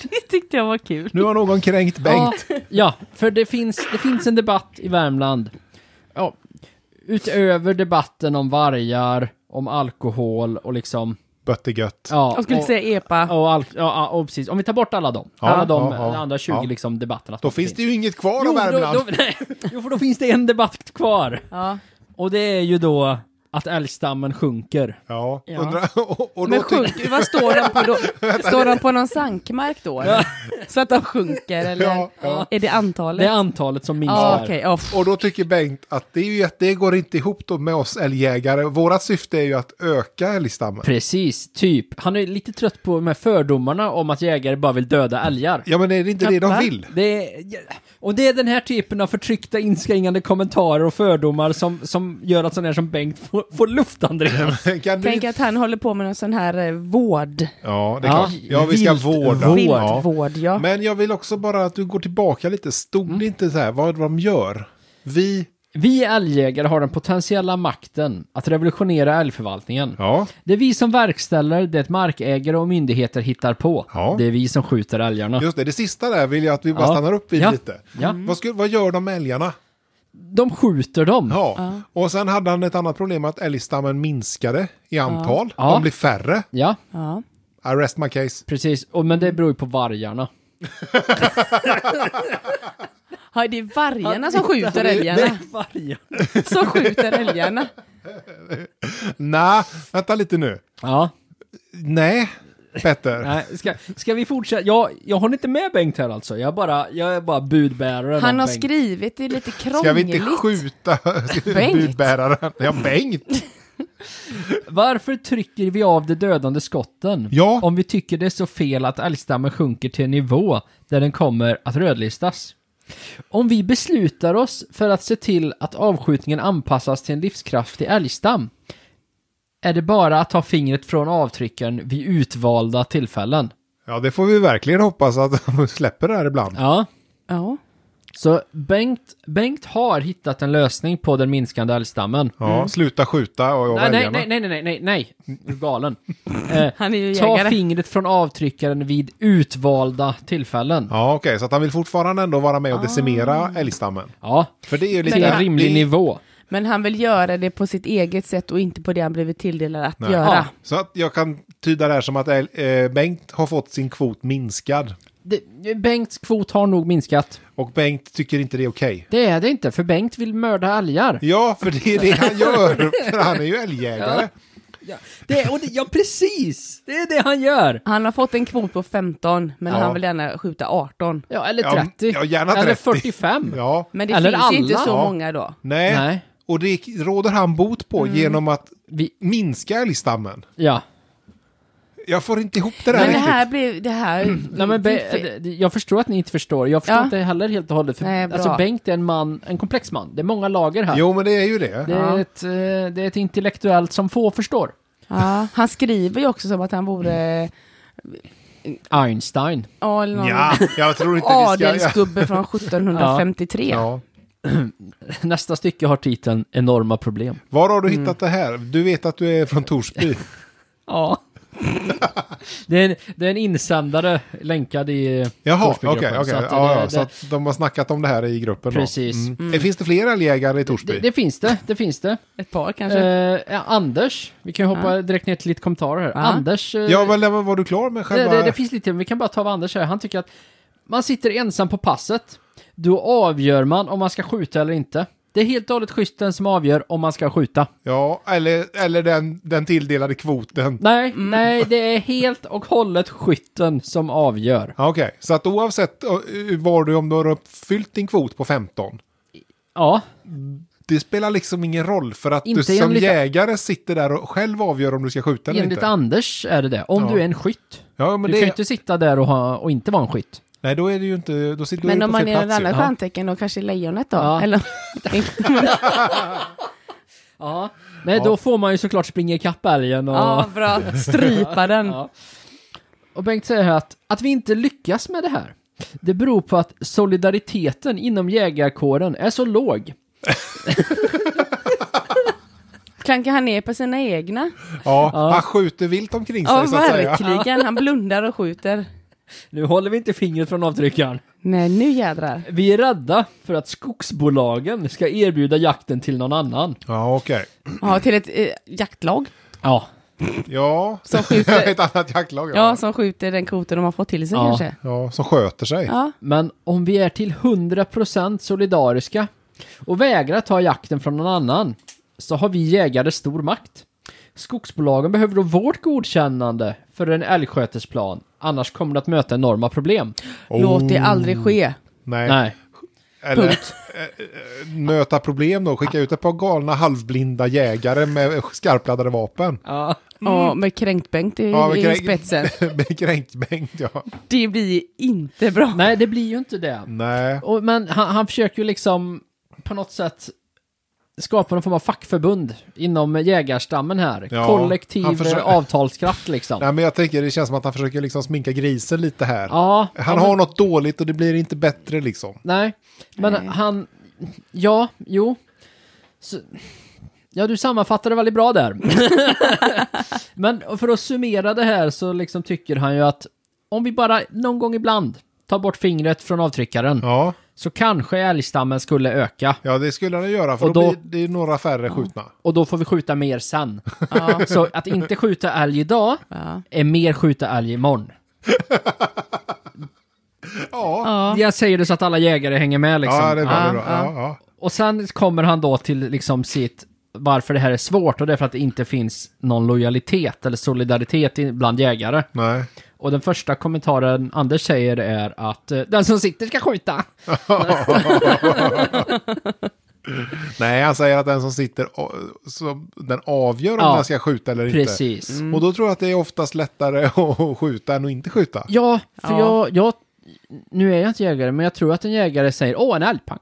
Speaker 3: Det tyckte jag var kul.
Speaker 2: Nu har någon kränkt Bengt.
Speaker 1: Ja, ja, för det finns, det finns en debatt i Värmland. Ja, utöver debatten om vargar, om alkohol och liksom...
Speaker 2: Böttegött.
Speaker 1: Ja,
Speaker 3: Jag skulle
Speaker 1: och,
Speaker 3: säga epa.
Speaker 1: och, all, ja, ja, och precis. Om vi tar bort alla dem.
Speaker 2: Ja,
Speaker 1: alla de
Speaker 2: ja, ja,
Speaker 1: andra 20
Speaker 2: ja.
Speaker 1: liksom, debatterna. som
Speaker 2: Då finns det ju inget kvar av
Speaker 1: Jo, då,
Speaker 2: Värmland.
Speaker 1: då, nej, jo, för då finns det en debatt kvar.
Speaker 3: Ja.
Speaker 1: Och det är ju då att älgstammen sjunker.
Speaker 2: Ja,
Speaker 3: Ja.
Speaker 2: undra. <laughs> Och, och
Speaker 3: Men
Speaker 2: då tycker
Speaker 3: sjunk, vad står de på
Speaker 2: <laughs>
Speaker 3: då? Står de på någon sankmark då? eller? Så att de sjunker eller?
Speaker 2: Ja, ja.
Speaker 3: Är det antalet?
Speaker 1: Det är antalet som minskar.
Speaker 3: ja, okej. Ja, pff.
Speaker 2: Och då tycker Bengt att det, är ju, att det går inte ihop då med oss älgjägare. Vårat syfte är ju att öka älgstammen.
Speaker 1: Precis, typ. Han är lite trött på de här fördomarna om att jägare bara vill döda älgar.
Speaker 2: Ja men är det inte det de
Speaker 3: Tappar.
Speaker 2: vill?
Speaker 1: Det är, och det är den här typen av förtryckta, inskränkande kommentarer och fördomar som, som gör att sån här som Bengt får, får luftandning.
Speaker 2: <laughs> Kan du...
Speaker 3: Tänk att han håller på med någon sån här eh, vård.
Speaker 2: Ja, det är
Speaker 1: Ja.
Speaker 2: klart. Ja, vi ska
Speaker 1: Vilt-
Speaker 2: vårda.
Speaker 1: vård.
Speaker 2: Ja.
Speaker 3: Viltvård, ja.
Speaker 2: Men jag vill också bara att du går tillbaka lite. Stod det inte så här vad de gör? Vi...
Speaker 1: Vi älgjägare har den potentiella makten att revolutionera älgförvaltningen.
Speaker 2: Ja.
Speaker 1: Det är vi som verkställer det markägare och myndigheter hittar på.
Speaker 2: Ja.
Speaker 1: Det är vi som skjuter älgarna.
Speaker 2: Just det, det sista där vill jag att vi
Speaker 1: Ja.
Speaker 2: bara stannar upp vid
Speaker 1: Ja.
Speaker 2: lite.
Speaker 1: Ja.
Speaker 2: Vad, skulle, vad gör de med älgarna?
Speaker 1: De skjuter dem.
Speaker 2: Ja. Och sen hade han ett annat problem att älgstammen minskade i antal.
Speaker 1: Ja.
Speaker 2: De blir färre.
Speaker 1: Ja,
Speaker 3: ja.
Speaker 2: I rest my case.
Speaker 1: precis. Och, men det beror ju på vargarna.
Speaker 3: Ja, det är vargarna som skjuter älgarna.
Speaker 1: vargarna.
Speaker 2: <laughs>
Speaker 3: Som skjuter älgarna.
Speaker 2: Nej, vänta lite nu.
Speaker 1: Ja,
Speaker 2: Nej, Petter.
Speaker 1: nej, ska, ska vi fortsätta? Jag, jag håller inte med Bengt här alltså. Jag är bara, jag är bara budbäraren
Speaker 3: Han
Speaker 1: av
Speaker 3: har
Speaker 1: Bengt.
Speaker 3: skrivit det lite
Speaker 2: Ska vi inte
Speaker 3: krångligt.
Speaker 2: skjuta budbäraren? Ja, Bengt.
Speaker 1: Varför trycker vi av de dödande skotten?
Speaker 2: Ja.
Speaker 1: Om vi tycker det är så fel att älgstammen sjunker till en nivå där den kommer att rödlistas. Om vi beslutar oss för att se till att avskjutningen anpassas till en livskraftig älgstam är det bara att ta fingret från avtryckaren vid utvalda tillfällen.
Speaker 2: Ja, det får vi verkligen hoppas att <laughs> de släpper det här ibland.
Speaker 1: Ja.
Speaker 3: Ja.
Speaker 1: Så Bengt, Bengt har hittat en lösning på den minskande älgstammen.
Speaker 2: Ja, sluta skjuta och
Speaker 1: Nej,
Speaker 2: jag
Speaker 1: nej,
Speaker 2: väljer
Speaker 1: nej,
Speaker 2: mig.
Speaker 1: nej, nej, nej, nej, Du är galen. Eh,
Speaker 3: Han är ju
Speaker 1: Ta
Speaker 3: jägare.
Speaker 1: fingret från avtryckaren vid utvalda tillfällen. Ja,
Speaker 2: Ja, okej, så att han vill fortfarande ändå vara med och decimera älgstammen. För det är ju lite...
Speaker 1: till en
Speaker 2: det
Speaker 1: rimlig
Speaker 2: är-
Speaker 1: nivå.
Speaker 3: Men han vill göra det på sitt eget sätt och inte på det han blivit tilldelad att
Speaker 2: Nej.
Speaker 3: göra.
Speaker 2: Så att jag kan tyda det här som att äl- eh, Bengt har fått sin kvot minskad.
Speaker 1: Det, Bengts kvot har nog minskat.
Speaker 2: Och Bengt tycker inte det är okej.
Speaker 1: Det är det inte, för Bengt vill mörda älgar.
Speaker 2: Ja, för det är det han gör. För han är ju älgjägare.
Speaker 1: Ja, det, och det, ja precis! Det är det han gör!
Speaker 3: Han har fått en kvot på 15, men
Speaker 2: Ja.
Speaker 3: han vill gärna skjuta 18.
Speaker 1: Ja, eller
Speaker 2: Ja,
Speaker 1: 30.
Speaker 2: ja, gärna
Speaker 1: Eller
Speaker 2: 30.
Speaker 1: 45.
Speaker 2: Ja.
Speaker 3: Men det
Speaker 1: Eller
Speaker 3: finns ju inte
Speaker 1: alla.
Speaker 3: så
Speaker 1: Ja.
Speaker 3: många då.
Speaker 2: Nej.
Speaker 1: Nej.
Speaker 2: Och det råder han bot på genom att
Speaker 1: Vi,
Speaker 2: minska älgstammen.
Speaker 1: ja.
Speaker 2: Jag får inte ihop det där
Speaker 3: Men det
Speaker 2: riktigt.
Speaker 3: här blev, det här...
Speaker 1: Nej, men
Speaker 3: det är fel.
Speaker 1: Be- jag förstår att ni inte förstår. Jag förstår
Speaker 3: Ja.
Speaker 1: inte heller helt och hållet. För
Speaker 3: Nej, bra.
Speaker 1: alltså Bengt är en man, en komplex man. Det är många lager här.
Speaker 2: Jo, men det är ju det.
Speaker 1: Det, är
Speaker 3: Ja.
Speaker 1: ett, eh, det är ett intellektuellt som få förstår.
Speaker 3: ja, han skriver ju också som att han vore...
Speaker 1: Einstein.
Speaker 3: Ja, eller någon
Speaker 2: Ja, jag tror inte vi ska... Ja.
Speaker 3: adelsgubbe från 1753.
Speaker 2: Ja.
Speaker 1: Nästa stycke har titeln Enorma problem.
Speaker 2: Var har du
Speaker 1: Mm.
Speaker 2: hittat det här? Du vet att du är
Speaker 1: <laughs>
Speaker 2: från Torsby.
Speaker 1: Ja. <laughs> det, är en, det är en insändare länkad i
Speaker 2: Jaha, okej.
Speaker 1: Torsbygruppen,
Speaker 2: okej.
Speaker 1: så att det-
Speaker 2: ja, ja,
Speaker 1: det-
Speaker 2: så att de har snackat om det här i gruppen
Speaker 1: Precis.
Speaker 2: då. Mm. Eh, Finns det fler älgjägare i Torsby?
Speaker 1: Det, det finns det, det finns det.
Speaker 3: Ett par kanske.
Speaker 1: Eh, ja, Anders, vi kan ju hoppa direkt ner till lite kommentarer här.
Speaker 3: Ja.
Speaker 1: Anders, eh,
Speaker 2: Ja, men var, var du klar med
Speaker 1: det,
Speaker 2: själva...
Speaker 1: det, det finns lite, men vi kan bara ta vad Anders här. Han tycker att man sitter ensam på passet. Då avgör man om man ska skjuta eller inte. Det är helt och hållet skytten som avgör om man ska skjuta.
Speaker 2: Ja, eller, eller den, den tilldelade kvoten.
Speaker 1: Nej,
Speaker 3: Mm.
Speaker 1: nej, det är helt och hållet skytten som avgör.
Speaker 2: Ja, Okej, så att oavsett eh, var du, om du har uppfyllt din kvot på 15,
Speaker 1: Ja,
Speaker 2: det spelar liksom ingen roll för att
Speaker 1: Inte
Speaker 2: du som
Speaker 1: enligt-
Speaker 2: jägare sitter där och själv avgör om du ska skjuta eller
Speaker 1: enligt
Speaker 2: inte.
Speaker 1: Anders är det det. Om
Speaker 2: Ja.
Speaker 1: du är en skytt.
Speaker 2: ja, men
Speaker 1: du kan ju
Speaker 2: det...
Speaker 1: inte sitta där och, ha, och inte vara en skytt.
Speaker 2: Nej, då är det ju inte... Då sitter du
Speaker 3: men
Speaker 2: ju
Speaker 3: om
Speaker 2: på
Speaker 3: man
Speaker 2: fel
Speaker 3: är ett
Speaker 2: plats ju.
Speaker 3: annat
Speaker 2: Ja.
Speaker 3: stjärntecken då kanske lejonet då?
Speaker 1: Ja.
Speaker 3: Eller...
Speaker 1: Ja. Nej, då får man ju såklart springa ikapp älgen och...
Speaker 3: <laughs> ja, bra. Strypa den.
Speaker 1: Ja. Och Bengt säger här att, att vi inte lyckas med det här, det beror på att solidariteten inom jägarkåren är så låg.
Speaker 3: Klankar han ner på sina egna?
Speaker 2: Ja, han skjuter vilt omkring sig
Speaker 3: Ja,
Speaker 2: så att säga.
Speaker 3: verkligen. Han blundar och skjuter.
Speaker 1: Nu håller vi inte fingret från avtryckaren.
Speaker 3: Nej, nu jädrar.
Speaker 1: Vi är rädda för att skogsbolagen ska erbjuda jakten till någon annan.
Speaker 2: Ja, okej.
Speaker 3: Ja, till ett eh, jaktlag
Speaker 1: Ja.
Speaker 2: Ja, <laughs>
Speaker 3: som skjuter,
Speaker 2: ett annat jaktlag.
Speaker 3: ja, som skjuter den kvoten de har fått till sig
Speaker 1: Ja.
Speaker 3: kanske.
Speaker 2: ja som sköter sig.
Speaker 3: Ja.
Speaker 1: Men om vi är till 100% solidariska och vägrar ta jakten från någon annan så har vi jägare stor makt. Skogsbolagen behöver då vårt godkännande för en älgskötesplan. Annars kommer det att möta enorma problem.
Speaker 2: Oh.
Speaker 3: Låt det aldrig ske.
Speaker 2: Nej.
Speaker 1: Nej.
Speaker 2: Eller eh, eh, möta problem då. Skicka ut ett par galna halvblinda jägare med skarpladdade vapen. <laughs>
Speaker 1: Ja.
Speaker 3: Ja, med kränkt-Bengt i,
Speaker 2: Mm. Ja, med
Speaker 3: i
Speaker 2: kränkt-
Speaker 3: spetsen.
Speaker 2: med kränkbänk, ja.
Speaker 3: Det blir inte bra.
Speaker 1: Nej, det blir ju inte det.
Speaker 2: Nej.
Speaker 1: Och, men han, han försöker ju liksom på något sätt skapa någon form av fackförbund inom jägarstammen här.
Speaker 2: Ja, han
Speaker 1: Kollektiv
Speaker 2: försöker-
Speaker 1: eh, avtalskraft liksom.
Speaker 2: Nej, men jag tänker det känns som att han försöker liksom sminka grisen lite här.
Speaker 1: Ja,
Speaker 2: Han har något dåligt och det blir inte bättre liksom.
Speaker 1: nej. Men
Speaker 3: Nej.
Speaker 1: han... Ja, jo. Så, ja, du sammanfattade väldigt bra
Speaker 3: <laughs>
Speaker 1: där. men för att summera det här så liksom tycker han ju att om vi bara någon gång ibland tar bort fingret från avtryckaren
Speaker 2: Ja,
Speaker 1: så kanske älgstammen skulle öka.
Speaker 2: ja det skulle han göra för
Speaker 1: Och
Speaker 2: då,
Speaker 1: då-
Speaker 2: blir det är några färre skjutna.
Speaker 1: Och då får vi skjuta mer sen.
Speaker 3: Ja.
Speaker 1: Så att inte skjuta älg idag
Speaker 3: Ja.
Speaker 1: är mer skjuta älg imorgon.
Speaker 2: Ja,
Speaker 3: Ja.
Speaker 1: Jag säger det så att alla jägare hänger med liksom.
Speaker 2: ja det är bra. det är bra.
Speaker 3: Ja,
Speaker 2: Ja, ja.
Speaker 1: Och sen kommer han då till liksom sitt varför det här är svårt och det är för att det inte finns någon lojalitet eller solidaritet i- bland jägare.
Speaker 2: Nej.
Speaker 1: Och den första kommentaren Anders säger är att eh, den som sitter ska skjuta.
Speaker 2: Nej, han säger att den som sitter, och- så den avgör om
Speaker 1: Ja,
Speaker 2: den ska skjuta eller inte.
Speaker 1: Precis.
Speaker 3: Mm.
Speaker 2: Och då tror jag att det är oftast lättare <laughs> att skjuta än att inte skjuta.
Speaker 1: Ja, för
Speaker 3: Ja.
Speaker 1: Jag, jag... Nu är jag inte jägare, men jag tror att en jägare säger åh, en älgpang.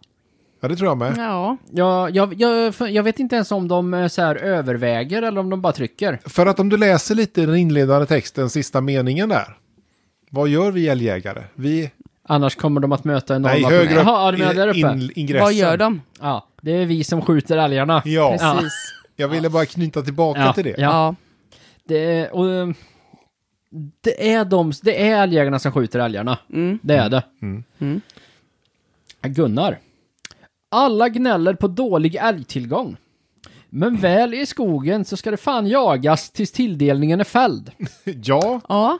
Speaker 2: Ja, det tror jag med.
Speaker 3: Ja.
Speaker 1: Jag, jag, jag, jag vet inte ens om de eh, så här överväger eller om de bara trycker.
Speaker 2: För att om du läser lite i den inledande texten, sista meningen där. Vad gör vi älgjägare? Vi...
Speaker 1: Annars kommer de att möta enorma
Speaker 2: Nej, högre upp
Speaker 1: Jaha, ja, du menar där uppe?
Speaker 2: i in, ingressen.
Speaker 3: Vad gör de?
Speaker 1: Ja, det är vi som skjuter älgarna.
Speaker 2: Ja,
Speaker 3: Precis.
Speaker 2: jag ville bara knyta tillbaka
Speaker 1: Ja,
Speaker 2: till det.
Speaker 1: ja.
Speaker 3: Ja.
Speaker 1: Det, är, och, eh, det är de, det är älgjägarna som skjuter älgarna. Det är det.
Speaker 3: Mm.
Speaker 1: Gunnar. Alla gnäller på dålig älgtillgång. Men väl i skogen så ska det fan jagas tills tilldelningen är fälld.
Speaker 2: <laughs> Ja,
Speaker 3: ja.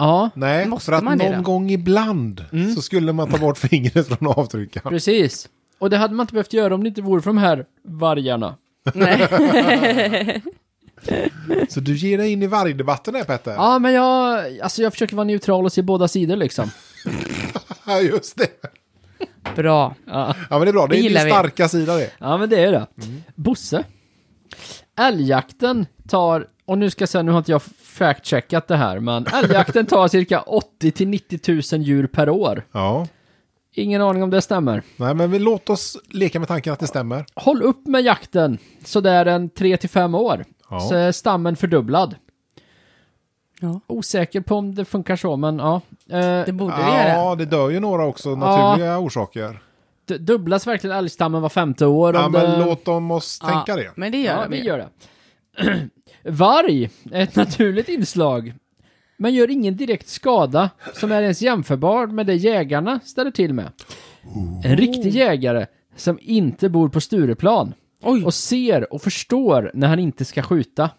Speaker 1: Ja,
Speaker 2: nej,
Speaker 3: Måste
Speaker 2: för att
Speaker 3: man det
Speaker 2: någon
Speaker 3: då?
Speaker 2: gång ibland
Speaker 1: Mm.
Speaker 2: så skulle man ta bort fingret
Speaker 1: <laughs>
Speaker 2: från avtryckaren.
Speaker 1: precis. Och det hade man inte behövt göra om det inte vore för de här vargarna.
Speaker 3: Nej.
Speaker 2: Så du ger dig in i vargdebatten här Petter.
Speaker 1: Ja, men jag, alltså jag försöker vara neutral och se båda sidor liksom.
Speaker 2: Ja, just det.
Speaker 3: Bra.
Speaker 1: Ja,
Speaker 2: Ja, men det är bra. Det
Speaker 3: Det
Speaker 2: är din
Speaker 3: gillar vi.
Speaker 2: starka sida det.
Speaker 1: ja men det är det.
Speaker 2: Mm.
Speaker 1: Bosse. Älgjakten tar, och nu ska jag säga, nu har inte jag fact-checkat det här,
Speaker 2: <laughs>
Speaker 1: men älgjakten tar cirka 80 till 90 000 djur per år.
Speaker 2: Ja.
Speaker 1: Ingen aning om det stämmer.
Speaker 2: Nej, men vi låt oss leka med tanken att det stämmer.
Speaker 1: Håll upp med jakten sådär en 3 till 5 år,
Speaker 2: Ja.
Speaker 1: så är stammen fördubblad.
Speaker 3: Ja.
Speaker 1: Osäker på om det funkar så, men ja. Eh,
Speaker 3: Det borde vi göra.
Speaker 2: Ja, det dör ju några också, naturliga orsaker.
Speaker 1: d- dubblas verkligen älgstammen var femte år?
Speaker 2: Ja,
Speaker 1: om
Speaker 2: men
Speaker 1: det...
Speaker 2: låt dem oss tänka det.
Speaker 3: Men det
Speaker 1: Ja,
Speaker 3: gör
Speaker 1: vi gör det. <clears throat> Varg är ett naturligt inslag, men gör ingen direkt skada som är ens jämförbar med det jägarna ställer till med. En riktig jägare som inte bor på Stureplan
Speaker 3: Oj.
Speaker 1: och ser och förstår när han inte ska skjuta.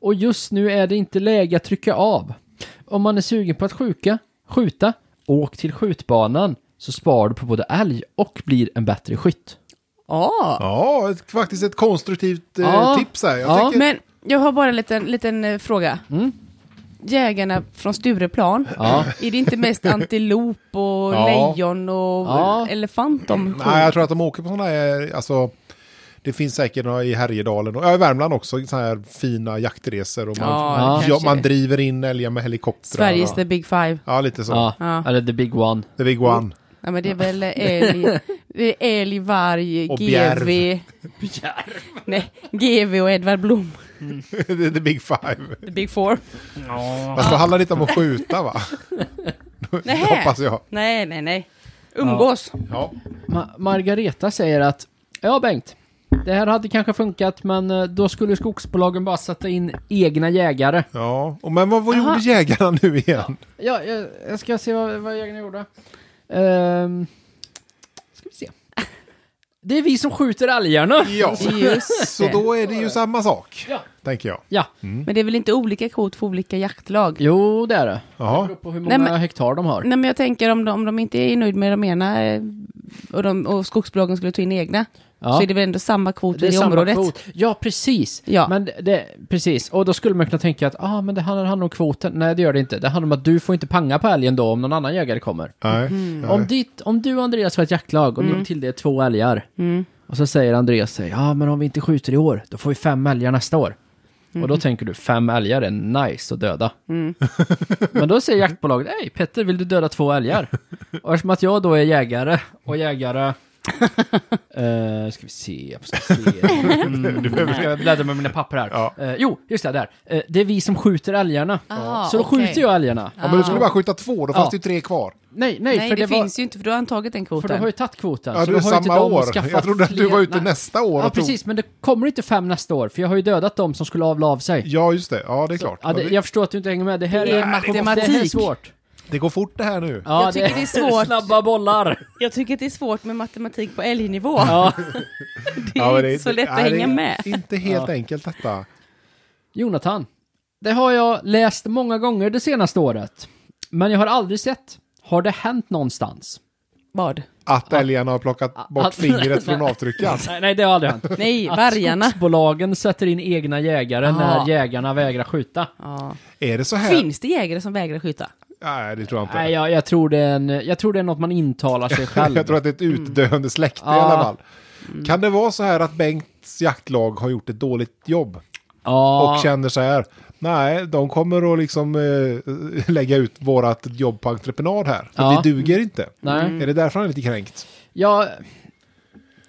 Speaker 1: Och just nu är det inte läge att trycka av. Om man är sugen på att skjuka, skjuta, åk till skjutbanan så sparar du på både älg och blir en bättre skytt.
Speaker 3: Ja.
Speaker 2: Ja, ett, faktiskt ett konstruktivt eh,
Speaker 1: Ja.
Speaker 2: tips här. Jag
Speaker 1: Ja.
Speaker 2: tänker,
Speaker 3: Men jag har bara en liten, liten eh, fråga. Jägarna från Stureplan,
Speaker 1: Mm. Ja.
Speaker 3: är det inte mest antilop och
Speaker 2: Ja.
Speaker 3: lejon och
Speaker 1: Ja.
Speaker 3: elefant de
Speaker 2: nej, jag tror att de åker på sådana här, alltså, det finns säkert några i Härjedalen och ja, i Värmland också, sådana här fina jaktresor och man,
Speaker 3: Ja,
Speaker 1: det
Speaker 2: ja,
Speaker 3: kanske
Speaker 2: man
Speaker 3: är.
Speaker 2: driver in älgar med helikoptrar.
Speaker 3: Sveriges
Speaker 2: Ja.
Speaker 3: the big five.
Speaker 2: Ja, lite så.
Speaker 1: Ja.
Speaker 3: Ja.
Speaker 1: eller the big one.
Speaker 2: The big one. <laughs>
Speaker 3: Ja, men det är väl älg, det är älg varg,
Speaker 2: Och
Speaker 3: GV.
Speaker 2: bjärv.
Speaker 3: Nej, GV och Edvard Blom.
Speaker 2: The the big five.
Speaker 3: The big four.
Speaker 2: Fast det handlar inte om att skjuta va?
Speaker 3: Nej.
Speaker 2: Hoppas jag.
Speaker 3: Nej, nej, nej. Umgås.
Speaker 2: Ja.
Speaker 1: Ma- Margareta säger att Ja, Bengt. Det här hade kanske funkat, men eh, då skulle skogsbolagen bara sätta in egna jägare.
Speaker 2: Ja, och men vad, vad
Speaker 1: Aha.
Speaker 2: gjorde jägarna nu igen?
Speaker 1: Ja, jag, jag ska se vad, vad jägarna gjorde. Ehm, ska vi se. Det är vi som skjuter älgarna.
Speaker 2: Ja,
Speaker 3: <laughs> Just
Speaker 2: så
Speaker 3: det.
Speaker 2: då är det ju samma sak,
Speaker 1: Ja.
Speaker 2: tänker jag.
Speaker 1: Ja,
Speaker 3: Men det är väl inte olika kort för olika jaktlag?
Speaker 1: jo det är det. Det
Speaker 2: Jaha.
Speaker 1: beror på hur många
Speaker 3: Nej, men-
Speaker 1: hektar de har.
Speaker 3: Nej men jag tänker om de, om de inte är nöjd med de ena eh, och, de, och skogsbolagen skulle ta in egna
Speaker 1: Ja.
Speaker 3: så är det väl ändå samma kvot i det
Speaker 1: samma
Speaker 3: området.
Speaker 1: kvot. Ja, precis.
Speaker 3: Ja.
Speaker 1: Men det- det, precis. Och då skulle man kunna tänka att ah, men det handlar handlar om kvoten. Nej, det gör det inte. Det handlar om att du får inte panga på älgen då om någon annan jägare kommer.
Speaker 2: Nej. nej.
Speaker 1: Mm. Om, ditt, om du och Andreas har ett jaktlag
Speaker 3: Mm.
Speaker 1: och ni till det är två älgar. Och så säger Andreas sig, ja men om vi inte skjuter i år, då får vi fem älgar nästa år. Och
Speaker 3: Mm.
Speaker 1: då tänker du, fem älgar är nice att döda. <laughs> men då säger jaktbolaget, hej Petter, vill du döda två
Speaker 3: <laughs>
Speaker 1: älgar? och eftersom att jag då är jägare, och jägare... <laughs> eh, ska vi se, jag
Speaker 2: <laughs>
Speaker 1: ska se. Mm, du behöver... Jag bläddrar med mina papper här.
Speaker 2: Ja.
Speaker 1: Eh, jo, just det, där. Eh, det är vi som skjuter älgarna.
Speaker 3: Ah,
Speaker 1: så då
Speaker 3: okej.
Speaker 1: skjuter jag älgarna.
Speaker 2: Ja, men du skulle bara skjuta två, då fanns
Speaker 1: Ja.
Speaker 2: det ju tre kvar.
Speaker 1: Nej, nej,
Speaker 3: Nej,
Speaker 1: för
Speaker 3: det,
Speaker 1: det, var...
Speaker 3: finns ju inte för du har antagit den
Speaker 1: För du
Speaker 3: kvoten.
Speaker 1: har ju tagit kvoten.
Speaker 2: Ja,
Speaker 1: så då
Speaker 2: du är
Speaker 1: har ju inte
Speaker 2: samma
Speaker 1: de
Speaker 2: år.
Speaker 1: skaffat
Speaker 2: Jag trodde att du
Speaker 1: fler-
Speaker 2: var ute
Speaker 1: Nej.
Speaker 2: nästa år
Speaker 1: Ja,
Speaker 2: och tog...
Speaker 1: precis. Men det kommer inte fem nästa år, för jag har ju dödat de som skulle avla av sig.
Speaker 2: Ja, just det. Ja, det är klart.
Speaker 1: Ja, det, jag förstår att du inte hänger med. Det här
Speaker 3: Det är
Speaker 1: är, Det här är
Speaker 3: matematik.
Speaker 1: svårt.
Speaker 2: Det går fort det här nu.
Speaker 1: Ja,
Speaker 3: Jag tycker
Speaker 1: <laughs>
Speaker 3: det är svårt.
Speaker 1: Snabba bollar.
Speaker 3: Jag tycker att det är svårt med matematik på älgnivå.
Speaker 1: Ja.
Speaker 3: <laughs> Det är
Speaker 2: <laughs> men
Speaker 3: inte så lätt att
Speaker 2: nej, det är
Speaker 3: hänga med.
Speaker 2: Inte helt enkelt detta.
Speaker 1: Jonathan, det har jag läst många gånger det senaste året. Men jag har aldrig sett. Har det hänt någonstans?
Speaker 3: Vad?
Speaker 2: Att älgarna har plockat bort
Speaker 1: att-
Speaker 2: fingret
Speaker 1: <laughs>
Speaker 2: från avtryckaren.
Speaker 1: Nej, nej det har aldrig hänt.
Speaker 3: <laughs>
Speaker 1: <laughs>
Speaker 3: Nej,
Speaker 1: Att
Speaker 3: vargarna.
Speaker 1: skogsbolagen sätter in egna jägare när
Speaker 3: Ah.
Speaker 1: jägarna vägrar skjuta.
Speaker 3: Ja.
Speaker 2: Är det så här?
Speaker 3: Finns det jägare som vägrar skjuta?
Speaker 2: Nej, det tror jag inte.
Speaker 1: Nej, jag, jag, tror det är en, jag tror det är något man intalar
Speaker 2: <laughs>
Speaker 1: sig själv.
Speaker 2: Jag tror att det är ett utdöende släkte i
Speaker 1: Mm. Ja. Mm.
Speaker 2: alla fall. Kan det vara så här att Bengts jaktlag har gjort ett dåligt jobb?
Speaker 1: ja.
Speaker 2: Och känner så här, nej, de kommer att liksom eh, lägga ut vårat jobb på entreprenad här. För
Speaker 1: Ja.
Speaker 2: det duger inte.
Speaker 1: Nej.
Speaker 2: Är det därför han är lite kränkt?
Speaker 1: Ja,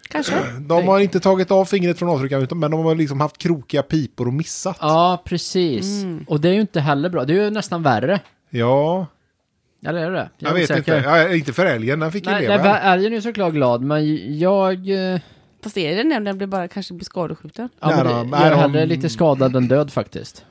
Speaker 3: Kanske.
Speaker 2: De har inte tagit av fingret från avtryckaren, utan- men de har liksom haft krokiga pipor och missat.
Speaker 1: ja precis. Och det är ju inte heller bra. Det är ju nästan värre.
Speaker 2: Ja,
Speaker 1: Eller är det det
Speaker 2: jag,
Speaker 1: är
Speaker 2: vet inte.
Speaker 1: osäker.
Speaker 2: Ja, inte för älgen, den fick ju
Speaker 1: Nej,
Speaker 2: leva.
Speaker 1: nej, vä- älgen är ju såklart glad, men jag... eh,
Speaker 3: Fast är det den den blir bara kanske blir skadeskjuten?
Speaker 1: Ja,
Speaker 2: Nej,
Speaker 1: men,
Speaker 2: då,
Speaker 1: det-
Speaker 2: nej,
Speaker 1: jag är
Speaker 2: de-
Speaker 1: hellre lite skadad än död faktiskt.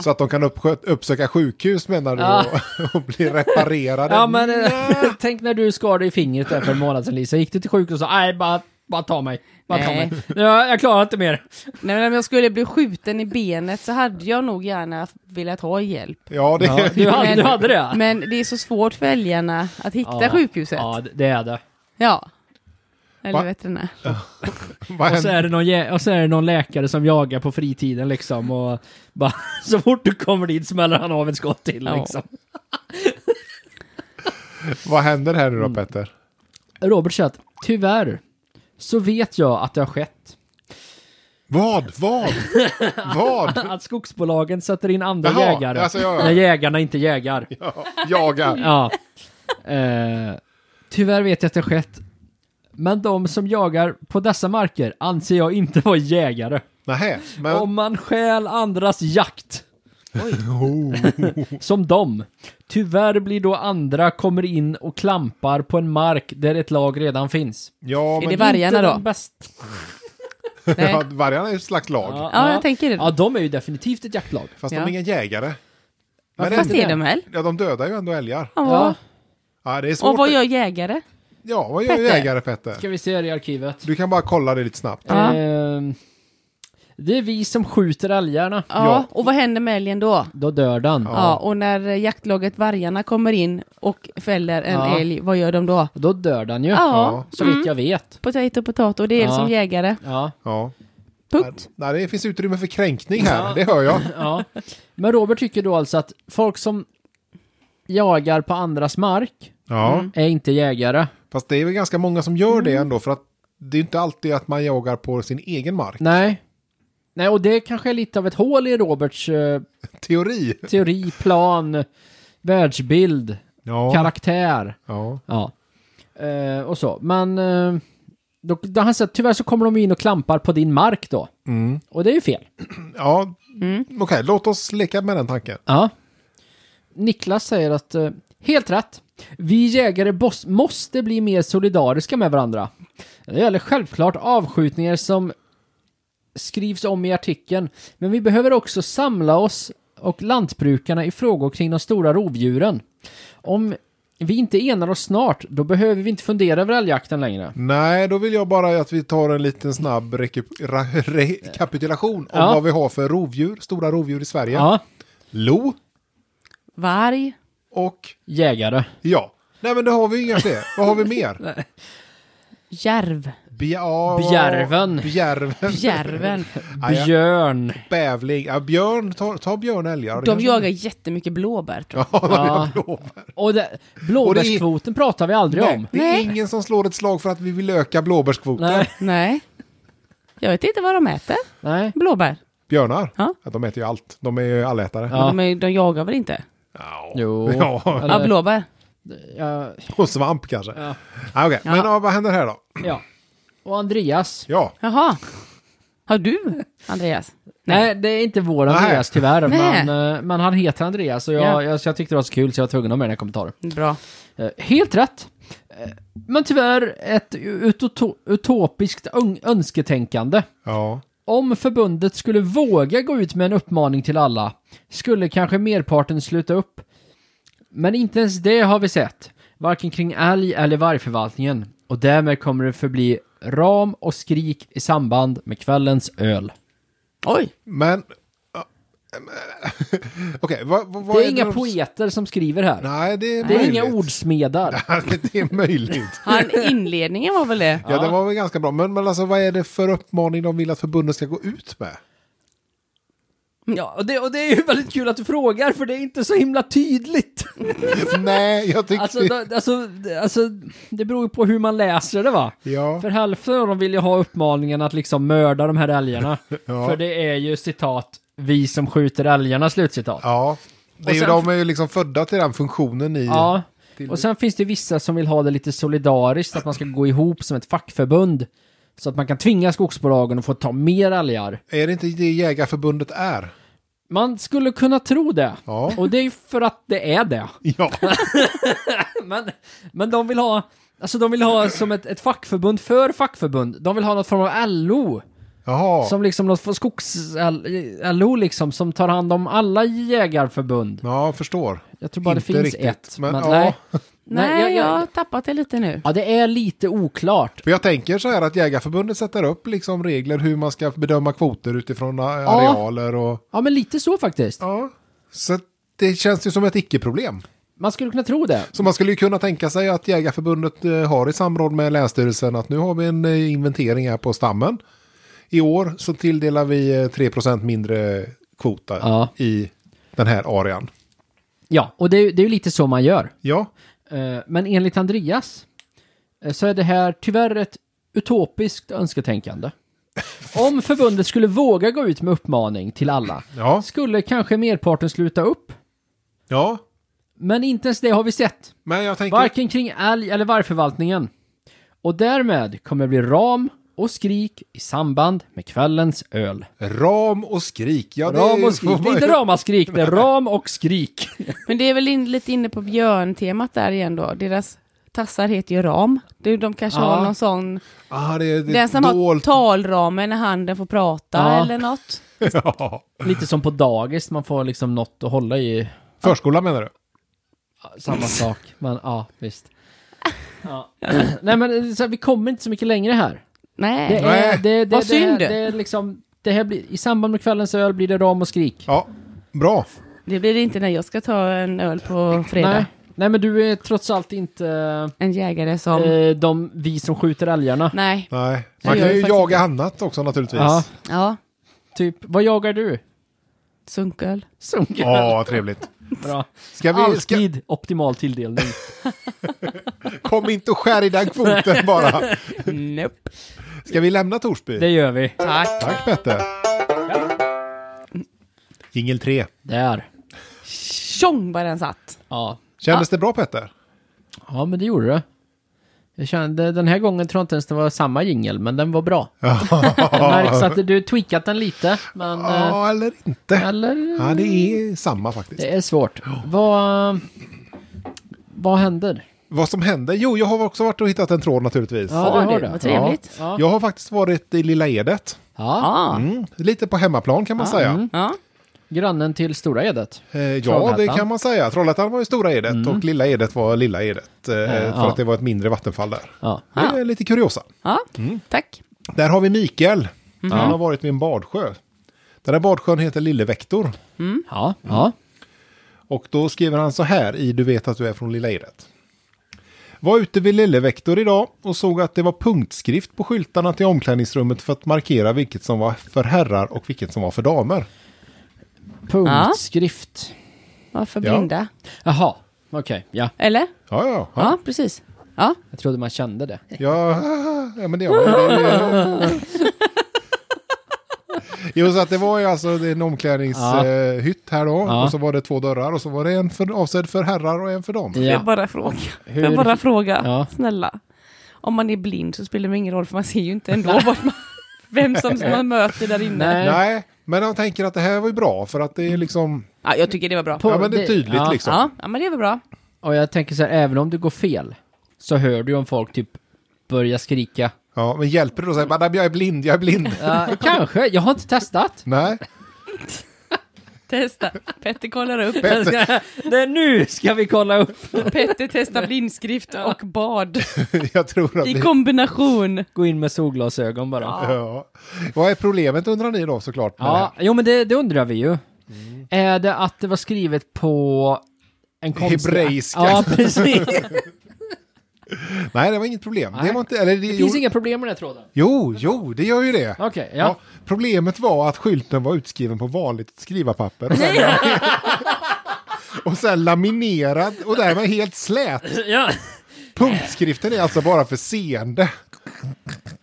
Speaker 2: Så att de kan uppskö- uppsöka sjukhus menar du
Speaker 1: Ja.
Speaker 2: och, <laughs> och bli reparerade.
Speaker 1: Ja, men eh, <laughs> tänk när du skadade i fingret där för en månad sedan Lisa. Gick du till sjukhus och sa nej, bara, bara ta mig. Bara ta
Speaker 3: Nej.
Speaker 1: mig. Jag, jag klarar inte mer.
Speaker 3: Nej, men om jag skulle bli skjuten i benet så hade jag nog gärna velat ha hjälp.
Speaker 2: Ja, det <laughs>
Speaker 1: Ja, du, hade, du hade <laughs> det?
Speaker 3: Men det är så svårt för älgarna att hitta
Speaker 1: Ja.
Speaker 3: sjukhuset.
Speaker 1: Ja, det- det är det.
Speaker 3: Ja. Eller
Speaker 2: Va?
Speaker 3: veterinär.
Speaker 2: Vad
Speaker 1: Och så,
Speaker 2: händer?
Speaker 1: är det någon, jä- och så är det någon läkare som jagar på fritiden liksom och bara, <laughs> så fort du kommer dit smäller han av ett skott till
Speaker 3: Ja.
Speaker 1: liksom.
Speaker 2: Vad händer här
Speaker 3: Mm.
Speaker 2: nu då Petter?
Speaker 1: Robert säger att tyvärr så vet jag att det har skett.
Speaker 2: Vad? Vad?
Speaker 3: <laughs>
Speaker 2: Vad?
Speaker 1: Att skogsbolagen sätter in andra
Speaker 2: Jaha,
Speaker 1: jägare
Speaker 2: alltså, ja, ja.
Speaker 1: när jägarna inte jägar. Ja.
Speaker 2: Jaga.
Speaker 1: Eh, tyvärr vet jag att det har skett. Men de som jagar på dessa marker anser jag inte vara jägare.
Speaker 2: Nähä, men...
Speaker 1: Om man stjäl andras jakt.
Speaker 2: Oh.
Speaker 1: <laughs> Som dem. Tyvärr blir då andra kommer in och klampar på en mark där ett lag redan finns.
Speaker 2: Ja,
Speaker 3: Är det
Speaker 2: men
Speaker 3: vargarna
Speaker 1: Inte
Speaker 3: då?
Speaker 1: de bäst-
Speaker 3: Nej.
Speaker 2: ja, vargarna är ju ett slags lag.
Speaker 1: Ja,
Speaker 3: Ja, jag tänker det.
Speaker 1: Ja, de är ju definitivt ett jaktlag.
Speaker 2: Fast de
Speaker 3: Ja.
Speaker 2: är inga jägare. Men
Speaker 1: Varför
Speaker 3: Fast
Speaker 1: inte
Speaker 3: är
Speaker 1: det?
Speaker 3: de väl?
Speaker 2: Ja, de dödar ju ändå älgar.
Speaker 1: Ja,
Speaker 3: Ja.
Speaker 2: Ja, det är svårt.
Speaker 3: Och vad gör jägare?
Speaker 2: Ja, vad gör
Speaker 3: Petter?
Speaker 2: jägare Petter?
Speaker 1: ska vi se det i arkivet.
Speaker 2: Du kan bara kolla det lite snabbt.
Speaker 3: Ja.
Speaker 1: Ehm, det är vi som skjuter älgarna.
Speaker 3: Ja.
Speaker 2: Ja.
Speaker 3: Och vad händer med älgen då?
Speaker 1: Då dör den.
Speaker 3: Ja. Och när eh, jaktlaget Vargarna kommer in och fäller en
Speaker 1: Ja.
Speaker 3: älg, vad gör de då?
Speaker 1: Då dör den ju.
Speaker 3: Ja. Mm.
Speaker 1: Så vitt jag vet.
Speaker 3: Potato, potato, det är
Speaker 1: Ja.
Speaker 3: som jägare.
Speaker 1: Ja,
Speaker 2: Ja.
Speaker 3: Punkt.
Speaker 2: Nej, det finns utrymme för kränkning här, det hör jag.
Speaker 1: ja. Men Robert tycker då alltså att folk som jagar på andras mark
Speaker 2: Ja,
Speaker 3: Mm.
Speaker 1: är inte jägare.
Speaker 2: fast det är väl ganska många som gör det ändå, för att det är inte alltid att man jagar på sin egen mark.
Speaker 1: Nej. Nej, och det kanske är lite av ett hål i Roberts eh,
Speaker 2: Teori.
Speaker 1: teori, plan, världsbild,
Speaker 2: Ja.
Speaker 1: karaktär.
Speaker 2: ja.
Speaker 1: Ja. Eh, och så. Men eh, då, då han säger att tyvärr så kommer de in och klampar på din mark då.
Speaker 2: Mm.
Speaker 1: Och det är ju fel.
Speaker 2: Ja,
Speaker 1: Mm.
Speaker 2: okej, låt oss leka med den tanken.
Speaker 1: Ja. Niklas säger att eh, helt rätt. Vi jägare bos- måste bli mer solidariska med varandra. Det gäller självklart avskjutningar som skrivs om i artikeln, men vi behöver också samla oss och lantbrukarna i frågor kring de stora rovdjuren. Om vi inte enar oss snart, då behöver vi inte fundera över älgjakten längre.
Speaker 2: Nej, då vill jag bara att vi tar en liten snabb reku- ra- rekapitulation om
Speaker 1: Ja.
Speaker 2: vad vi har för rovdjur, stora rovdjur i Sverige.
Speaker 1: Ja,
Speaker 2: Lo
Speaker 3: Varg.
Speaker 2: och
Speaker 1: jägare.
Speaker 2: ja. Nej, men det har vi ju inga fler. vad har vi mer?
Speaker 3: Järv.
Speaker 2: Bja-
Speaker 1: Bjärven.
Speaker 2: Bjärven.
Speaker 3: Järven.
Speaker 2: Ah, Ja, ja.
Speaker 1: Björn.
Speaker 2: Bävling. Ja, björn. Ta, ta björn och älgar. <laughs>
Speaker 3: De jagar jättemycket blåbär tror jag.
Speaker 1: Ja. Och det, blåbärskvoten pratar vi aldrig om.
Speaker 2: Nej, det är
Speaker 3: Nej.
Speaker 2: ingen som slår ett slag för att vi vill öka blåbärskvoten.
Speaker 1: Nej,
Speaker 3: Nej. Jag vet inte vad de äter.
Speaker 1: nej.
Speaker 3: Blåbär.
Speaker 2: Björnar,
Speaker 3: Ja.
Speaker 2: att de äter ju allt. De är ju allätare.
Speaker 1: Ja.
Speaker 3: De, är, de jagar väl inte?
Speaker 2: Ja.
Speaker 1: Jo.
Speaker 2: Ja.
Speaker 1: Eller-
Speaker 3: Ja, blåbär.
Speaker 1: Ja,
Speaker 2: Och svamp kanske.
Speaker 1: Ja.
Speaker 2: Ah, okej. Men
Speaker 3: Ja.
Speaker 2: ah, vad händer här då?
Speaker 1: ja. Och Andreas.
Speaker 2: Ja,
Speaker 3: Jaha. Har du, Andreas?
Speaker 1: Nej. det är inte vår
Speaker 2: Nej.
Speaker 1: Andreas tyvärr,
Speaker 3: Nej.
Speaker 1: men, eh, men han heter Andreas och jag,
Speaker 3: Ja.
Speaker 1: jag, så jag tyckte det var så kul så jag var tvungen att ha med den här kommentaren.
Speaker 3: Bra.
Speaker 1: Eh, helt rätt. Eh, men tyvärr ett utoto- utopiskt ön- önsketänkande.
Speaker 2: ja.
Speaker 1: Om förbundet skulle våga gå ut med en uppmaning till alla skulle kanske merparten sluta upp. Men inte ens det har vi sett, varken kring älg eller vargförvaltningen. Och därmed kommer det förbli ram och skrik i samband med kvällens öl.
Speaker 3: Oj.
Speaker 2: men... ah, men- <laughs> Okej, vad, vad, vad
Speaker 1: Det är,
Speaker 2: det
Speaker 1: inga
Speaker 2: de-
Speaker 1: poeter som skriver här.
Speaker 2: Nej, det är
Speaker 1: det är
Speaker 2: möjligt.
Speaker 1: inga ordsmedar.
Speaker 2: <laughs> det är möjligt.
Speaker 3: Han, inledningen var väl det?
Speaker 2: Ja, det var väl ganska bra. Men, men alltså, vad är det för uppmaning de vill att förbundet ska gå ut med? <laughs>
Speaker 1: Ja, och det, och det är ju väldigt kul att du frågar, för det är inte så himla tydligt.
Speaker 2: Nej, jag tycker...
Speaker 1: Alltså, då, alltså, alltså det beror ju på hur man läser det va?
Speaker 2: ja.
Speaker 1: För hälften av dem vill ju ha uppmaningen att liksom mörda de här älgarna.
Speaker 2: <laughs> Ja.
Speaker 1: För det är ju citat, vi som skjuter älgarna, slutcitat. Ja.
Speaker 2: ja. Det är ju,
Speaker 1: sen-
Speaker 2: de är ju liksom födda till den funktionen i...
Speaker 1: Och sen finns det vissa som vill ha det lite solidariskt, att man ska gå ihop som ett fackförbund. Så att man kan tvinga skogsbolagen att få ta mer älgar.
Speaker 2: Är det inte det Jägarförbundet är?
Speaker 1: Man skulle kunna tro det.
Speaker 2: Ja.
Speaker 1: Och det är ju för att det är
Speaker 2: <laughs>
Speaker 1: det. <laughs>
Speaker 2: Ja.
Speaker 1: Men, men de vill ha, alltså de vill ha som ett, ett fackförbund för fackförbund. De vill ha något form av LO.
Speaker 2: Jaha.
Speaker 1: Som liksom något skogs-LO liksom, som tar hand om alla jägarförbund.
Speaker 2: Ja, förstår.
Speaker 1: Jag tror bara det
Speaker 2: Inte
Speaker 1: finns
Speaker 2: riktigt,
Speaker 1: ett.
Speaker 2: men
Speaker 1: Men,
Speaker 2: ja.
Speaker 1: nej.
Speaker 3: Nej,
Speaker 1: Nej, jag-
Speaker 3: jag
Speaker 1: jag-
Speaker 3: har tappat det lite nu.
Speaker 1: Ja, det är lite oklart.
Speaker 2: För jag tänker så här att Jägarförbundet sätter upp liksom regler hur man ska bedöma kvoter utifrån eh, arealer och...
Speaker 1: Ja, men lite så faktiskt.
Speaker 2: Ja. Så att det känns ju som ett icke-problem.
Speaker 1: Man skulle kunna tro det.
Speaker 2: Så man skulle ju kunna tänka sig att Jägarförbundet eh, har i samråd med Länsstyrelsen att nu har vi en eh, inventering här på stammen. I år så tilldelar vi eh, 3% mindre kvota
Speaker 1: Ja.
Speaker 2: i den här arean.
Speaker 1: Ja, och det är, ju- det är ju lite så man gör.
Speaker 2: Ja,
Speaker 1: Eh, Men enligt Andreas eh, så är det här tyvärr ett utopiskt
Speaker 2: <laughs>
Speaker 1: önsketänkande. Om förbundet skulle våga gå ut med uppmaning till alla
Speaker 2: ja,
Speaker 1: skulle kanske merparten sluta upp.
Speaker 2: ja.
Speaker 1: Men inte ens det har vi sett.
Speaker 2: Men jag tänker...
Speaker 1: Varken kring älg eller vargförvaltningen. Och därmed kommer det bli ram och skrik i samband med kvällens öl.
Speaker 2: Ram och skrik. Ja, det är
Speaker 1: Ram
Speaker 2: ju-
Speaker 1: och skrik. Det är inte ramaskrik, det är ram och skrik.
Speaker 3: Men det är väl in, lite inne på björntemat där igen då. Deras tassar heter ju ram. De, de kanske
Speaker 1: Ja.
Speaker 3: har någon sån...
Speaker 2: Ah, det är, det är
Speaker 3: Den som
Speaker 2: dolt.
Speaker 3: har talramen när handen får prata
Speaker 1: Ja.
Speaker 3: eller något.
Speaker 2: <laughs> ja.
Speaker 1: Lite som på dagis, man får liksom något att hålla i.
Speaker 2: Förskola menar du?
Speaker 1: Samma sak, men ja, visst. Ja. <clears throat> Nej men det är så här, vi kommer inte så mycket längre här.
Speaker 3: Nej.
Speaker 1: Det är,
Speaker 2: Nej.
Speaker 1: det, det,
Speaker 3: Vad
Speaker 1: det,
Speaker 3: synd.
Speaker 1: Det, är liksom, det här blir, i samband med kvällens öl blir det ram och skrik.
Speaker 2: Ja, bra.
Speaker 3: Det blir det inte när jag ska ta en öl på fredag.
Speaker 1: Nej. Nej men du är trots allt inte
Speaker 3: En jägare som...
Speaker 1: eh, de, vi som skjuter älgarna.
Speaker 3: Nej.
Speaker 2: Nej,
Speaker 3: Jag
Speaker 2: man
Speaker 3: gör
Speaker 2: kan ju
Speaker 3: faktiskt
Speaker 2: jaga
Speaker 3: inte.
Speaker 2: annat också naturligtvis.
Speaker 1: Ja,
Speaker 2: Ja,
Speaker 3: Ja.
Speaker 1: typ, vad jagar du?
Speaker 3: Sunköl.
Speaker 1: Sunkel.
Speaker 2: trevligt.
Speaker 1: Bra.
Speaker 2: Ska vi, ska,
Speaker 1: Alltid optimal
Speaker 2: <laughs>
Speaker 1: tilldelning.
Speaker 2: kom inte och skär i den kvoten bara.
Speaker 3: Nope.
Speaker 2: Ska vi lämna
Speaker 1: Det
Speaker 2: Torsby?
Speaker 1: gör vi.
Speaker 3: Tack.
Speaker 2: Tack Petter. Jingel 3.
Speaker 1: Där.
Speaker 3: Tjong vad den satt.
Speaker 1: Ja.
Speaker 2: Kändes det bra Petter?
Speaker 1: Ja, men det gjorde det. Jag kände, den här gången tror jag inte ens det var samma jingel, men den var bra.
Speaker 2: <laughs>
Speaker 1: Det märks att du tweakat den lite, men... eh,
Speaker 2: Ja, eller inte.
Speaker 1: Eller?
Speaker 2: Ja, det är samma faktiskt.
Speaker 1: Det är svårt. Vad... Vad händer?
Speaker 2: Vad som händer? Jo, jag har också varit och hittat en tråd naturligtvis.
Speaker 1: Ja, det har
Speaker 3: du.
Speaker 1: du.
Speaker 3: Vad trevligt.
Speaker 1: Ja.
Speaker 2: Jag har faktiskt varit i Lilla Edet.
Speaker 1: Ja.
Speaker 3: Ja.
Speaker 2: Mm, lite på hemmaplan kan man säga.
Speaker 3: Ja.
Speaker 1: Grannen till Stora Edet.
Speaker 2: Eh, ja, det
Speaker 1: Trollhättan. Mm.
Speaker 2: kan man säga. Trollhättan var ju Stora Edet och Lilla Edet var Lilla Edet. Eh,
Speaker 1: ja. Ah.
Speaker 2: För att det var ett mindre vattenfall där.
Speaker 1: Ja.
Speaker 2: Det är lite kuriosa.
Speaker 3: ja.
Speaker 1: Mm.
Speaker 3: Tack.
Speaker 2: Där har vi Mikael.
Speaker 1: Mhm.
Speaker 2: Han har varit vid en badsjö. Den här badsjön heter Lillevektor.
Speaker 1: Ja. ja.
Speaker 2: Och då skriver han så här i Du vet att du är från Lilla Edet. Var ute vid Lillevektor idag och såg att det var punktskrift på skyltarna till omklädningsrummet för att markera vilket som var för herrar och vilket som var för damer.
Speaker 1: Punktskrift.
Speaker 3: Varför
Speaker 2: Ja.
Speaker 3: blinda?
Speaker 1: Jaha, okej. Ja,
Speaker 3: Eller?
Speaker 2: Ja, ja,
Speaker 3: Ja,
Speaker 2: ja.
Speaker 3: precis. Ja.
Speaker 1: jag trodde man kände det.
Speaker 2: Ja, <laughs> ja men det gör man ju. Det är- Jo, så att det var ju alltså det är en
Speaker 1: Ja.
Speaker 2: omklädningshytt här då.
Speaker 1: Ja.
Speaker 2: Och så var det två dörrar och så var det en för, avsedd för herrar och en för damer.
Speaker 3: Får Jag
Speaker 1: Ja.
Speaker 3: bara fråga. Får
Speaker 1: Hur-
Speaker 3: Jag bara fråga.
Speaker 1: Ja.
Speaker 3: Snälla. Om man är blind så spelar det ingen roll för man ser ju inte ändå vart man, vem som man möter där inne.
Speaker 1: Nej.
Speaker 2: Nej, men de tänker att det här var ju bra för att det är liksom...
Speaker 3: Ja, jag tycker det var bra.
Speaker 1: På-
Speaker 2: Ja, men det
Speaker 1: det-
Speaker 2: är tydligt
Speaker 1: ja.
Speaker 2: liksom.
Speaker 3: Ja, ja, men det var bra.
Speaker 1: Och jag tänker så här, även om du går fel så hör du ju om folk typ börjar skrika.
Speaker 2: Ja, men hjälper det då att säga "Nej, men jag är blind, jag är blind? <laughs>
Speaker 1: Ja, <laughs> kanske, jag har inte <laughs> testat.
Speaker 2: Nej, <laughs>
Speaker 3: Testa. Petter kollar upp.
Speaker 1: det är nu ska vi kolla upp.
Speaker 3: <laughs> Petter testar blindskrift och bad
Speaker 2: jag tror att
Speaker 3: i
Speaker 2: det...
Speaker 3: kombination.
Speaker 1: Gå in med solglasögon bara. Ja,
Speaker 2: <laughs> Ja. Vad är problemet undrar ni då såklart? med det här?
Speaker 1: jo men det, det undrar vi ju. Är det att det var skrivet på en konstig...
Speaker 2: Hebreiska.
Speaker 1: Ja, precis. Det
Speaker 2: Nej, det var inget problem.
Speaker 1: Nej.
Speaker 2: Det var inte... Eller, det,
Speaker 1: finns
Speaker 2: jo,
Speaker 1: inga problem med den här tråden.
Speaker 2: jo, jo, det gör ju det.
Speaker 1: Okej,
Speaker 2: Ja.
Speaker 1: ja.
Speaker 2: Problemet var att skylten var utskriven på vanligt skrivarpapper. Och sen, <laughs> och sen laminerad och därmed helt slät.
Speaker 1: ja.
Speaker 2: Punktskriften är alltså bara för seende.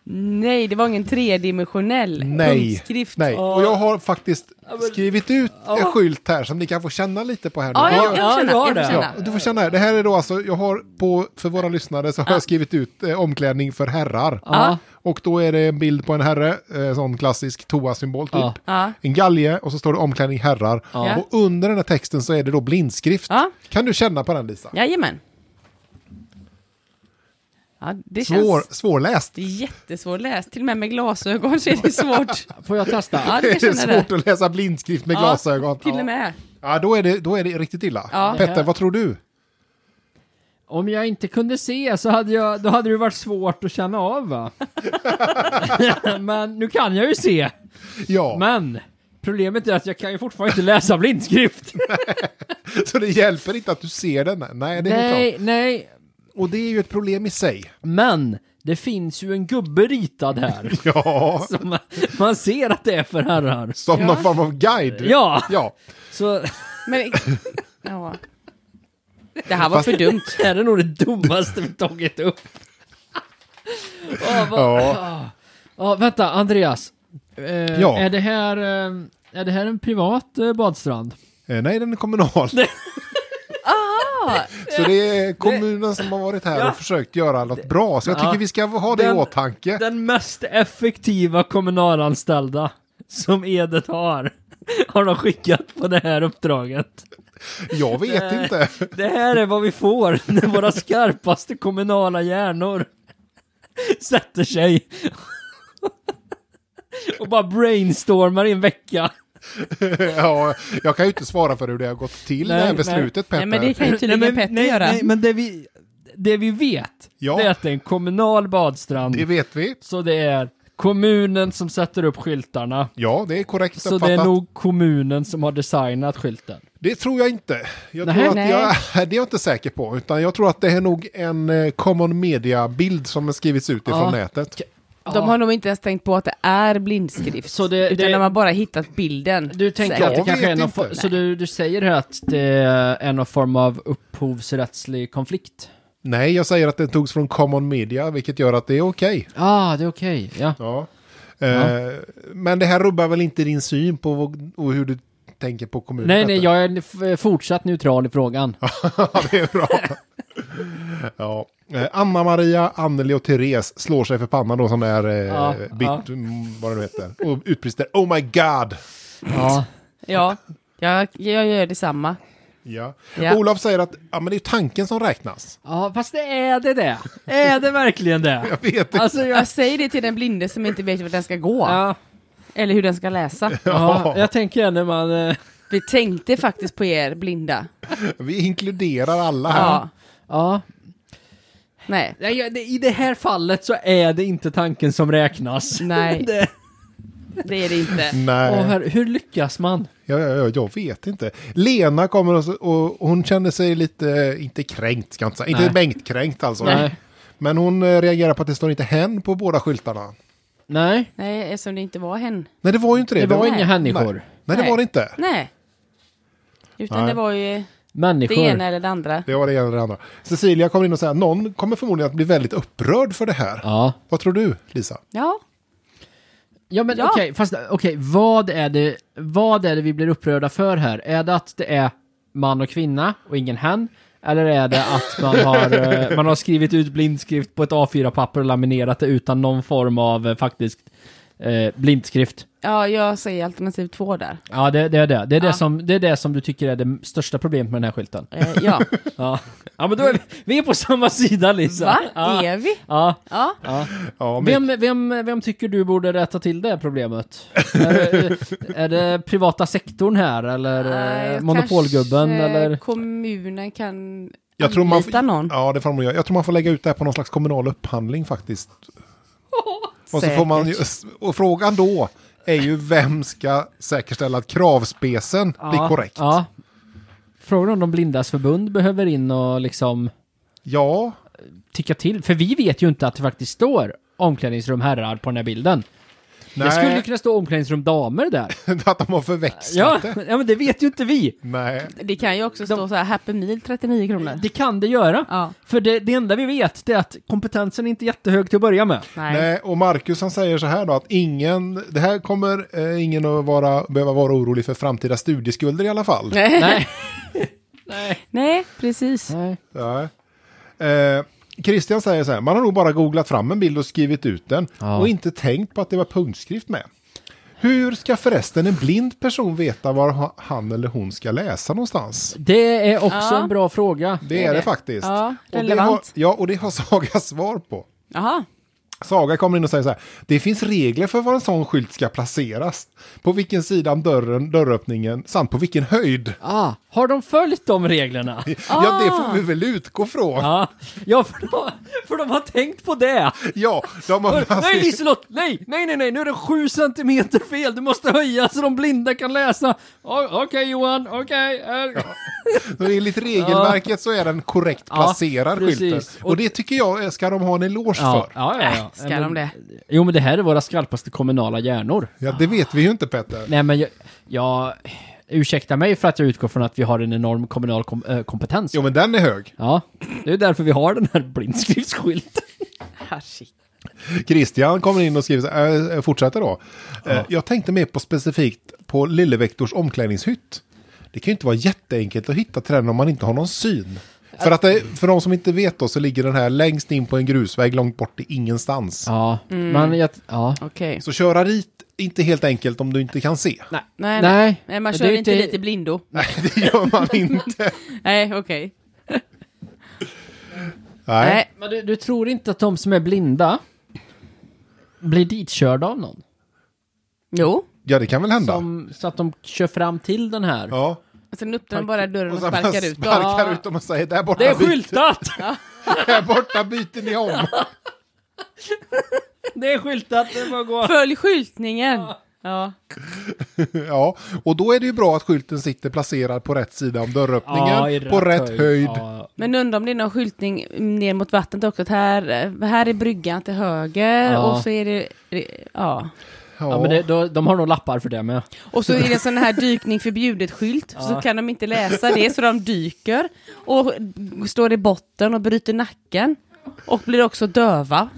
Speaker 3: Nej, det var ingen tredimensionell
Speaker 2: Nej.
Speaker 3: punktskrift.
Speaker 2: Nej. Och jag har faktiskt skrivit ut en skylt här som ni kan få känna lite på här nu.
Speaker 3: Ja,
Speaker 2: Jag-
Speaker 3: jag, jag
Speaker 1: Ja,
Speaker 3: får känna.
Speaker 1: du har det.
Speaker 3: Jag får känna.
Speaker 2: Ja, du får känna här. Det här är då alltså, jag har på, för våra lyssnare så har jag skrivit ut eh, omklädning för herrar.
Speaker 1: Ja.
Speaker 2: Och då är det en bild på en herre, eh, sån klassisk toasymbol typ.
Speaker 1: Ja.
Speaker 3: Ja.
Speaker 2: En galge och så står det omklädning herrar.
Speaker 3: Ja.
Speaker 2: Och under den här texten så är det då blindskrift.
Speaker 3: Ja.
Speaker 2: Kan du känna på den Lisa?
Speaker 3: Jajamän. Ja, det
Speaker 2: Svår,
Speaker 3: känns
Speaker 2: svårläst.
Speaker 3: det är jättesvårläst. Till och med med glasögon så är det
Speaker 1: <laughs>
Speaker 3: svårt.
Speaker 1: Får jag testa?
Speaker 3: Ja,
Speaker 2: Det
Speaker 3: det
Speaker 2: är <laughs>
Speaker 3: känner det.
Speaker 2: svårt att läsa blindskrift med
Speaker 3: Ja,
Speaker 2: glasögon.
Speaker 3: Till och med.
Speaker 2: Ja, då är det, då är det riktigt illa.
Speaker 3: Ja.
Speaker 2: Petter, vad tror du?
Speaker 1: Om jag inte kunde se så hade jag, då hade det varit svårt att känna av va? Men nu kan jag ju se.
Speaker 2: Ja,
Speaker 1: Men problemet är att jag kan ju fortfarande inte läsa <laughs> blindskrift.
Speaker 2: <laughs> så det hjälper inte att du ser den. Nej, det är helt
Speaker 1: nej, nej.
Speaker 2: klart. Och det är ju ett problem i sig. <laughs>
Speaker 1: Men det finns ju en gubbe ritad <laughs> här.
Speaker 2: Ja,
Speaker 1: som man ser att det är för herrar.
Speaker 2: som någon form av guide.
Speaker 1: Ja,
Speaker 2: Ja,
Speaker 1: så
Speaker 3: Men, ja. Det här var för dumt.
Speaker 1: <laughs> det här är nog det dummaste vi tagit upp. Åh, vad-
Speaker 2: ja.
Speaker 1: Ja, vänta, Andreas. Eh,
Speaker 2: Ja.
Speaker 1: är, det här, eh, är det här en privat eh, badstrand?
Speaker 2: Eh, Nej, den är kommunal. <laughs>
Speaker 3: Ah,
Speaker 2: Så det är kommunen som har varit här och försökt göra något bra. Så jag
Speaker 1: Ja.
Speaker 2: tycker vi ska ha det i
Speaker 1: Den-
Speaker 2: åtanke.
Speaker 1: Den mest effektiva kommunalanställda som Edet har, har de skickat på det här uppdraget.
Speaker 2: Jag vet
Speaker 1: Nej.
Speaker 2: inte. <laughs>
Speaker 1: Det här är vad vi får <laughs> när våra skarpaste kommunala hjärnor sätter sig och bara brainstormar i en vecka.
Speaker 2: ja, jag kan ju inte svara för hur det har gått till
Speaker 1: Nej,
Speaker 2: det här
Speaker 1: nej.
Speaker 2: beslutet
Speaker 3: nej,
Speaker 2: Petter.
Speaker 3: men det kan ju tydligen
Speaker 1: men,
Speaker 3: Petter
Speaker 1: nej,
Speaker 3: göra.
Speaker 1: Nej, men det vi, det vi vet,
Speaker 2: Ja.
Speaker 1: det är att det är en kommunal badstrand.
Speaker 2: Det vet vi.
Speaker 1: Så det är kommunen som sätter upp skyltarna.
Speaker 2: Ja, det är korrekt
Speaker 1: Så det
Speaker 2: uppfattat.
Speaker 1: är nog kommunen som har designat skylten.
Speaker 2: Det tror jag inte. Jag
Speaker 1: Nej,
Speaker 2: tror att
Speaker 3: nej.
Speaker 2: Jag, <laughs> det är jag inte säker på. Utan jag tror att det är nog en eh, common media-bild som har skrivits ut ifrån
Speaker 1: Ja.
Speaker 2: nätet.
Speaker 3: De har nog inte ens tänkt på att det är blindskrift.
Speaker 1: Så det-
Speaker 3: utan
Speaker 1: det-
Speaker 3: de har bara hittat bilden.
Speaker 1: Du tänker
Speaker 3: Säkert.
Speaker 1: att det
Speaker 2: Jag
Speaker 1: kanske är
Speaker 2: vet
Speaker 1: någon
Speaker 2: inte.
Speaker 1: for- Så du, du säger här att det är någon form av upphovsrättslig konflikt?
Speaker 2: Nej, jag säger att den togs från common media, vilket gör att det är okej.
Speaker 1: Ah, det är okej. Ja.
Speaker 2: Ja. Eh, Men det här rubbar väl inte din syn på vad- och hur du tänker på kommunen?
Speaker 1: Nej, nej,
Speaker 2: Petter?
Speaker 1: jag är f- fortsatt neutral i frågan.
Speaker 2: <laughs> Ja, det är bra. <laughs> Ja. Eh, Anna-Maria, Anneli och Therese slår sig för pannan då som är eh,
Speaker 1: Ja,
Speaker 2: bit,
Speaker 1: ja.
Speaker 2: mm, vad det nu heter. Och utbrister Oh my God!
Speaker 1: Ja.
Speaker 3: Ja, jag, jag gör detsamma.
Speaker 2: Ja.
Speaker 3: Ja.
Speaker 2: Olof säger att ja, men det är ju tanken som räknas.
Speaker 1: Ja, fast det är det det. Är det verkligen <laughs> det?
Speaker 2: Jag vet inte.
Speaker 1: Alltså, jag...
Speaker 3: Jag säger det till den blinde som inte vet vart den ska gå.
Speaker 1: Ja,
Speaker 3: Eller hur den ska läsa.
Speaker 1: <laughs> ja, jag tänker när man... eh,
Speaker 3: Vi tänkte faktiskt på er blinda.
Speaker 2: Vi inkluderar alla här.
Speaker 3: Ja.
Speaker 1: Ja.
Speaker 3: Nej.
Speaker 1: Nej, jag- det- I det här fallet så är det inte tanken som räknas.
Speaker 3: Nej.
Speaker 1: Det...
Speaker 3: Det är det inte.
Speaker 2: Nej,
Speaker 1: Åh, herre, hur lyckas man?
Speaker 2: ja, ja, ja, jag vet inte. Lena kommer och, och hon känner sig lite, inte kränkt ska jag inte säga, inte
Speaker 1: Nej.
Speaker 2: bänkkränkt alltså.
Speaker 1: Nej.
Speaker 2: Men hon eh, reagerar på att det står inte hen på båda skyltarna.
Speaker 1: Nej,
Speaker 3: Nej, eftersom det inte var hen.
Speaker 2: Nej, det var ju inte det.
Speaker 1: det var
Speaker 3: Nej.
Speaker 1: inga människor.
Speaker 2: Nej, nej det
Speaker 3: Nej.
Speaker 2: var det inte.
Speaker 3: Nej. Utan
Speaker 2: Nej.
Speaker 3: det var ju det
Speaker 1: Människor.
Speaker 3: ena eller det andra.
Speaker 2: Det var det ena eller det andra. Cecilia kommer in och säger någon kommer förmodligen att bli väldigt upprörd för det här.
Speaker 1: Ja.
Speaker 2: Vad tror du, Lisa?
Speaker 3: Ja.
Speaker 1: Ja men
Speaker 3: Ja.
Speaker 1: okej, fast okej, vad är det, vad är det vi blir upprörda för här? Är det att det är man och kvinna och ingen hen? Eller är det att man har,
Speaker 3: <laughs>
Speaker 1: eh, man har skrivit ut blindskrift på ett A4-papper och laminerat det utan någon form av eh, faktiskt eh, blindskrift?
Speaker 3: Ja, jag säger alternativ två där.
Speaker 1: Ja, det, det är det. Det är, det,
Speaker 3: Ja.
Speaker 1: som, det är det som du tycker är det största problemet med den här skylten.
Speaker 3: Eh, <laughs> ja.
Speaker 1: Ja, ja men då är vi, vi är på samma sida Lisa.
Speaker 3: Va?
Speaker 1: Ja.
Speaker 3: Är vi?
Speaker 1: Ja.
Speaker 3: Ja.
Speaker 2: Ja, men-
Speaker 1: Vem, vem, vem tycker du borde rätta till det problemet? är, det, är det privata sektorn här eller
Speaker 3: Nej,
Speaker 1: eh, monopolgubben
Speaker 3: kanske
Speaker 1: eller?
Speaker 3: kommunen kan
Speaker 2: Jag tror man
Speaker 3: anlita någon.
Speaker 2: Ja, det får man göra. Jag tror man får lägga ut det här på någon slags kommunal upphandling <laughs> faktiskt. Och, så får man ju, och frågan då är ju vem ska säkerställa att kravspecen blir korrekt? Ja.
Speaker 1: Ja. Frågan om de blindas förbund behöver in och liksom tycka till. För vi vet ju inte att det faktiskt står omklädningsrum herrar på den här bilden. Det skulle ju
Speaker 2: Nej,
Speaker 1: kunna stå omklädningsrum damer
Speaker 2: <laughs>
Speaker 1: där.
Speaker 2: att de har förväxlat
Speaker 1: Ja,
Speaker 2: det.
Speaker 1: ja, men det vet ju inte vi.
Speaker 2: Nej,
Speaker 3: Det kan ju också stå så här, Happy Meal 39 kronor.
Speaker 1: Det kan det göra.
Speaker 3: Ja.
Speaker 1: För det, det enda vi vet det är att kompetensen är inte jättehög till att börja
Speaker 3: <laughs>
Speaker 1: med.
Speaker 3: Nej.
Speaker 2: nej. Och Marcus han säger så här då att ingen, det här kommer eh, ingen att vara, behöva vara orolig för framtida studieskulder i alla fall.
Speaker 3: Nej.
Speaker 1: Nej. Nej.
Speaker 3: <laughs> Nej, precis.
Speaker 1: Nej.
Speaker 2: Ja. Eh, Christian säger så här, man har nog bara googlat fram en bild och skrivit ut den
Speaker 1: Ja.
Speaker 2: och inte tänkt på att det var punktskrift med. Hur ska förresten en blind person veta var ha- han eller hon ska läsa någonstans?
Speaker 1: Det är också
Speaker 3: Ja.
Speaker 1: en bra fråga.
Speaker 2: Det är det, faktiskt.
Speaker 3: Ja,
Speaker 2: och det har,
Speaker 3: relevant.
Speaker 2: ja, och det har <laughs> Saga svar på.
Speaker 3: Jaha.
Speaker 2: Saga kommer in och säger så här, det finns regler för var en sån skylt ska placeras. På vilken sida om dörren, dörröppningen, samt på vilken höjd.
Speaker 1: Ah, har de följt de reglerna?
Speaker 2: Ja, det får vi väl utgå
Speaker 1: Ah.
Speaker 2: från.
Speaker 1: Ja, ja för, de, för de har tänkt på det.
Speaker 2: Ja,
Speaker 1: <laughs>
Speaker 2: de har alltså
Speaker 1: Nej Liselott, nej, nej, nej, nej, nu är det sju centimeter fel, du måste höja så de blinda kan läsa. O- Okej Johan, okej. här.
Speaker 2: <laughs> Så enligt regelverket så är den korrekt
Speaker 1: Ja,
Speaker 2: placerad
Speaker 1: precis.
Speaker 2: skylten. Och det tycker jag eh, ska de ha en eloge
Speaker 1: Ja,
Speaker 2: för.
Speaker 1: ja, ja. ja.
Speaker 3: Äh, ska de det?
Speaker 1: Jo men det här är våra skarpaste kommunala hjärnor.
Speaker 2: Ja, det vet vi ju inte Petter.
Speaker 1: Nej men jag, jag ursäkta mig för att jag utgår från att vi har en enorm kommunal kom, eh, kompetens.
Speaker 2: Jo, men den är hög.
Speaker 1: Ja, det är därför vi har den här blindskriftsskylten.
Speaker 3: Herregud.
Speaker 2: Christian kommer in och skriver, så här, äh, fortsätter då. Eh, Jag tänkte mer på specifikt på Lillevektors omklädningshytt. Det kan ju inte vara jätteenkelt att hitta till den om man inte har någon syn. För, att det, för de som inte vet då så ligger den här längst in på en grusväg långt bort i ingenstans.
Speaker 1: Ja,
Speaker 3: Mm.
Speaker 1: men jag, ja.
Speaker 3: Okej.
Speaker 2: Så köra dit, inte helt enkelt om du inte kan se. <laughs>
Speaker 1: Nej. Nej.
Speaker 3: Nej, nej. nej, man
Speaker 1: Men
Speaker 3: kör
Speaker 1: det är
Speaker 3: inte
Speaker 1: inte-
Speaker 3: lite blindo.
Speaker 2: Nej, det gör man inte.
Speaker 3: Nej, okej.
Speaker 2: Nej.
Speaker 3: <laughs> Nej.
Speaker 1: Men du, du tror inte att de som är blinda blir ditkörda av någon?
Speaker 3: Jo.
Speaker 2: Ja, det kan väl hända.
Speaker 1: Som, så att de kör fram till den här?
Speaker 2: Ja.
Speaker 3: Och sen öppnar de bara dörren och
Speaker 2: Och så
Speaker 3: sparkar
Speaker 2: man
Speaker 3: ut.
Speaker 2: sparkar
Speaker 3: Ja.
Speaker 2: ut dem och säger där borta,
Speaker 1: Det är
Speaker 2: byter-
Speaker 1: skyltat! <laughs>
Speaker 2: där borta byter ni om.
Speaker 1: Det är skyltat, det är bara att gå.
Speaker 3: Följ skyltningen. Ja.
Speaker 2: ja, och då är det ju bra att skylten sitter placerad på rätt sida om dörröppningen.
Speaker 1: Ja, i
Speaker 2: på rätt höjd.
Speaker 1: Ja.
Speaker 3: Men undrar om det är någon skyltning ner mot vattnet också. Att här, eh, här är bryggan till höger
Speaker 1: Ja.
Speaker 3: och så är det... det- Ja.
Speaker 2: Ja.
Speaker 1: Ja, men det, då, de har nog lappar för det med.
Speaker 3: Och så är det en sån här dykning förbjudet-skylt, så kan de inte läsa det, så de dyker och står i botten och bryter nacken och blir också döva.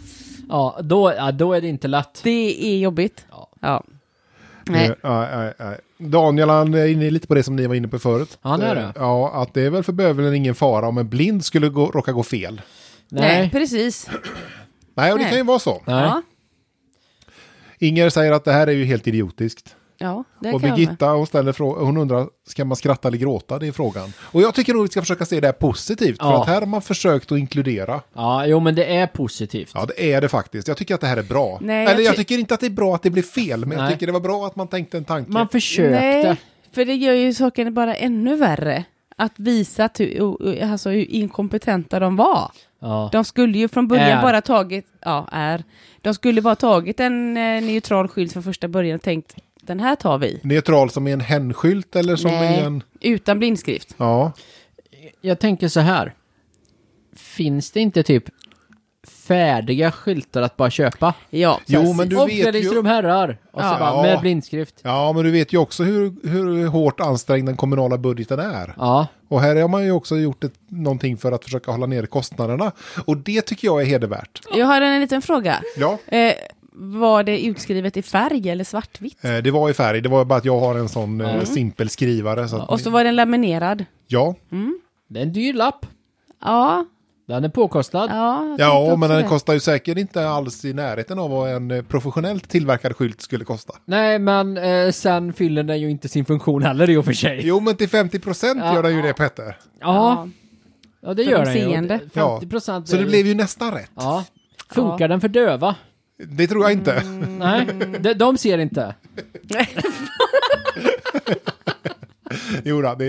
Speaker 1: Ja, då, ja, då är det inte lätt.
Speaker 3: Det är jobbigt.
Speaker 1: Ja.
Speaker 3: Ja.
Speaker 2: Nej.
Speaker 3: Nej.
Speaker 2: Eh, nej, nej. Daniel, han är inne lite på det som ni var inne på förut.
Speaker 1: Han är
Speaker 2: Eh,
Speaker 1: det.
Speaker 2: Ja, att det är väl för bövelen ingen fara om en blind skulle gå, råka gå fel.
Speaker 3: Nej.
Speaker 1: Nej.
Speaker 3: precis.
Speaker 2: Nej, och det
Speaker 3: Nej.
Speaker 2: kan ju vara så.
Speaker 1: Nej.
Speaker 3: Ja.
Speaker 2: Inger säger att det här är ju helt idiotiskt.
Speaker 3: Ja, det
Speaker 2: Och
Speaker 3: kan jag med.
Speaker 2: Birgitta hon ställer frå- hon undrar, ska man skratta eller gråta? Det är frågan. Och jag tycker nog vi ska försöka se det här positivt, för
Speaker 1: Ja.
Speaker 2: att här har man försökt att inkludera.
Speaker 1: Ja, jo men det är positivt.
Speaker 2: Ja, det är det faktiskt. Jag tycker att det här är bra.
Speaker 3: Nej, jag
Speaker 2: eller jag
Speaker 3: ty-
Speaker 2: tycker inte att det är bra att det blir fel, men jag
Speaker 1: Nej.
Speaker 2: tycker det var bra att man tänkte en tanke.
Speaker 1: Man försökte.
Speaker 3: Nej, för det gör ju saken bara ännu värre. Att visa att hur, och- och- alltså hur inkompetenta de var.
Speaker 1: Ja.
Speaker 3: De skulle ju från början
Speaker 1: Är.
Speaker 3: bara tagit, ja är, de skulle bara tagit en eh, neutral skylt från första början och tänkt den här tar vi.
Speaker 2: Neutral som i en händskylt eller som i en...
Speaker 3: utan blindskrift.
Speaker 2: Ja,
Speaker 1: Jag tänker så här. Finns det inte typ färdiga skyltar att bara köpa?
Speaker 3: Ja,
Speaker 2: Jo,
Speaker 3: precis.
Speaker 2: men du- vet ju-
Speaker 1: Omklädningsrum herrar! Och så
Speaker 3: Ja.
Speaker 1: bara med blindskrift.
Speaker 2: ja men du vet ju också hur, hur hårt ansträngd den kommunala budgeten är.
Speaker 1: Ja.
Speaker 2: Och här har man ju också gjort ett, någonting för att försöka hålla ner kostnaderna. Och det tycker jag är hedervärt.
Speaker 3: Jag har en liten fråga.
Speaker 2: Ja,
Speaker 3: Eh, var det utskrivet i färg eller svartvitt?
Speaker 2: eh, det var i färg. Det var bara att jag har en sån eh, simpel skrivare. Så att,
Speaker 3: Och så var den laminerad.
Speaker 2: ja,
Speaker 1: Det är en dyr lapp.
Speaker 3: Ja,
Speaker 1: Den är påkostad.
Speaker 3: ja. jag tänkte
Speaker 2: ja
Speaker 3: också
Speaker 2: men den
Speaker 3: det.
Speaker 2: kostar ju säkert inte alls i närheten av vad en eh, professionellt tillverkad skylt skulle kosta.
Speaker 1: Nej, men eh, sen fyller den ju inte sin funktion heller i och för sig.
Speaker 2: Jo, men till 50 procent gör den ju det, Petter.
Speaker 1: Ja, ja det
Speaker 3: För
Speaker 1: gör
Speaker 3: de
Speaker 1: den ju.
Speaker 3: seende.
Speaker 1: 50 procent.
Speaker 2: Så det blev ju nästan rätt.
Speaker 1: Ja. Funkar den för döva?
Speaker 2: Det tror jag inte.
Speaker 3: Mm.
Speaker 1: Nej, de, de ser inte.
Speaker 2: <laughs> Jo, då, det,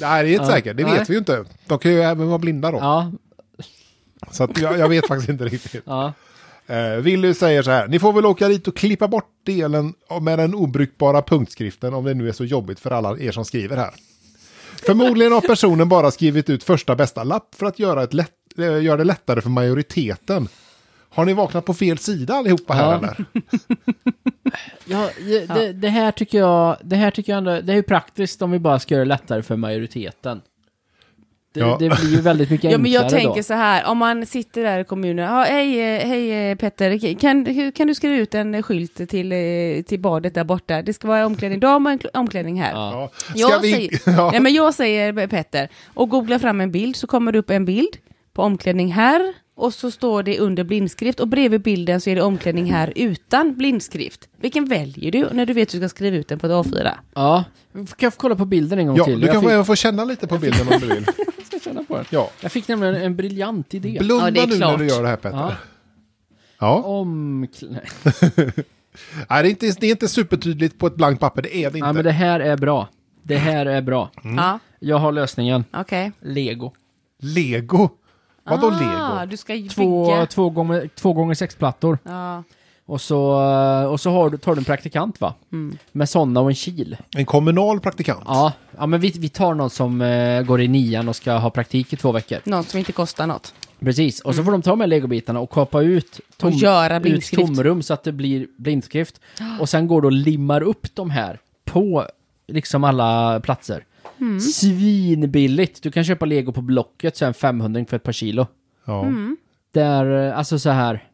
Speaker 2: nej, det är inte säkert. Det
Speaker 1: Nej.
Speaker 2: vet vi ju inte. De kan ju även vara blinda då.
Speaker 1: Ja,
Speaker 2: Så att jag, jag vet faktiskt inte riktigt.
Speaker 1: ja.
Speaker 2: Eh, Willy säger så här. Ni får väl åka dit och klippa bort delen med den obrukbara punktskriften om det nu är så jobbigt för alla er som skriver här. Förmodligen har personen bara skrivit ut första bästa lapp för att göra, ett lätt, eh, göra det lättare för majoriteten. Har ni vaknat på fel sida allihopa här
Speaker 1: Ja.
Speaker 2: eller?
Speaker 1: Ja, det, det- det här tycker jag, det här tycker jag ändå, det är ju praktiskt om vi bara ska göra det lättare för majoriteten. Det,
Speaker 2: Ja.
Speaker 1: det blir ju väldigt mycket
Speaker 3: <laughs> Ja, men
Speaker 1: enklare
Speaker 3: jag tänker
Speaker 1: då.
Speaker 3: så här, om man sitter där i kommunen, ja, hej, eh, hej eh, Petter, kan, hur- kan du skriva ut en eh, skylt till, eh, till badet där borta? Det ska vara omklädning dam och en kl- omklädning här.
Speaker 1: Ja.
Speaker 2: Ja. Ska
Speaker 3: Jag,
Speaker 2: vi-
Speaker 3: säger,
Speaker 2: <laughs> Ja.
Speaker 3: nej, men jag säger eh, Petter, och googla fram en bild så kommer det upp en bild på omklädning här och så står det under blindskrift och bredvid bilden så är det omklädning här utan blindskrift. Vilken väljer du när du vet att du ska skriva ut den på ett A4?
Speaker 1: Ja, kan jag få kolla på bilden en gång
Speaker 2: Ja,
Speaker 1: till?
Speaker 2: du
Speaker 1: jag,
Speaker 2: kan
Speaker 1: fick,
Speaker 2: få- få känna lite på bilden om du vill.
Speaker 1: känna på den.
Speaker 2: Ja.
Speaker 1: jag fick nämligen en briljant idé.
Speaker 2: Blunda
Speaker 3: Ja, det är
Speaker 2: nu när
Speaker 3: klart.
Speaker 2: du gör det här Petter.
Speaker 1: Ja.
Speaker 2: Ja.
Speaker 1: Om... Nej,
Speaker 2: Nej, det, är inte, det är inte supertydligt på ett blankt papper, det är det inte.
Speaker 1: men det här är bra. Det här är bra.
Speaker 2: Mm.
Speaker 3: Ja,
Speaker 1: Jag har lösningen.
Speaker 3: okej.
Speaker 1: Lego.
Speaker 2: Lego? Vadå
Speaker 3: Ah,
Speaker 2: lego?
Speaker 3: Du ska ju
Speaker 1: Två,
Speaker 3: bygga.
Speaker 1: två gånger, två gånger sex plattor.
Speaker 3: Ja.
Speaker 1: Och så, eh, och så har du, tar du en praktikant va? Med sådana och en kil.
Speaker 2: En kommunal praktikant?
Speaker 1: Ja, ja men vi, vi tar någon som eh, går i nian och ska ha praktik i två veckor.
Speaker 3: Någon som inte kostar något.
Speaker 1: Precis,
Speaker 2: Mm.
Speaker 1: och så får de ta med legobitarna och kapa ut, tom,
Speaker 3: Och göra
Speaker 1: ut
Speaker 3: blindskrift.
Speaker 1: tomrum så att det blir
Speaker 2: <gasps>
Speaker 1: blindskrift. Och sen går du och limmar upp de här på liksom alla platser.
Speaker 2: Mm.
Speaker 1: Svinbilligt! Du kan köpa lego på Blocket, så en 500 för ett par kilo.
Speaker 2: Ja.
Speaker 1: Där, eh, alltså så
Speaker 2: <laughs>
Speaker 1: här.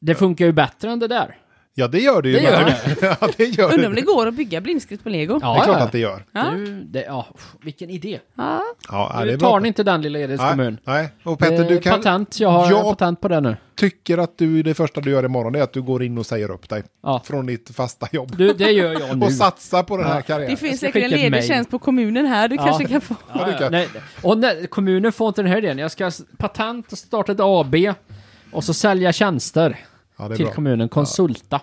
Speaker 1: Det funkar ju bättre än det där.
Speaker 2: Ja, det gör det ju.
Speaker 1: Det gör
Speaker 2: men- <laughs> ja, det gör
Speaker 3: Undrar om
Speaker 2: det.
Speaker 3: det går att bygga blindskrift på lego?
Speaker 2: Det är klart att det gör.
Speaker 3: Ja.
Speaker 1: Du, det, ja, pff, vilken idé.
Speaker 3: Ja.
Speaker 2: Ja, ja, det
Speaker 1: nu
Speaker 2: är bra.
Speaker 1: tar ni inte den lilla Edens kommun.
Speaker 2: Nej, nej. Och Petter, du
Speaker 1: Eh,
Speaker 2: kan,
Speaker 1: Patent, jag har
Speaker 2: Ja.
Speaker 1: patent på det nu.
Speaker 2: tycker att du, det första du gör imorgon är att du går in och säger upp dig
Speaker 1: Ja.
Speaker 2: från ditt fasta jobb.
Speaker 1: Du, det gör jag nu.
Speaker 2: <laughs> Och satsar på den här
Speaker 3: Det
Speaker 2: karriären.
Speaker 3: finns
Speaker 1: ska
Speaker 3: säkert en
Speaker 1: skicka ett
Speaker 3: ledig
Speaker 1: mail.
Speaker 3: tjänst på kommunen här, du
Speaker 1: Ja.
Speaker 3: kanske kan få.
Speaker 1: Ja,
Speaker 2: du
Speaker 1: ja.
Speaker 2: kan.
Speaker 1: Nej, nej. och nej, kommunen får inte den här idén. Jag ska s- patent och starta ett AB och så sälja tjänster
Speaker 2: Ja, det är
Speaker 1: till
Speaker 2: bra.
Speaker 1: kommunen. Konsulta.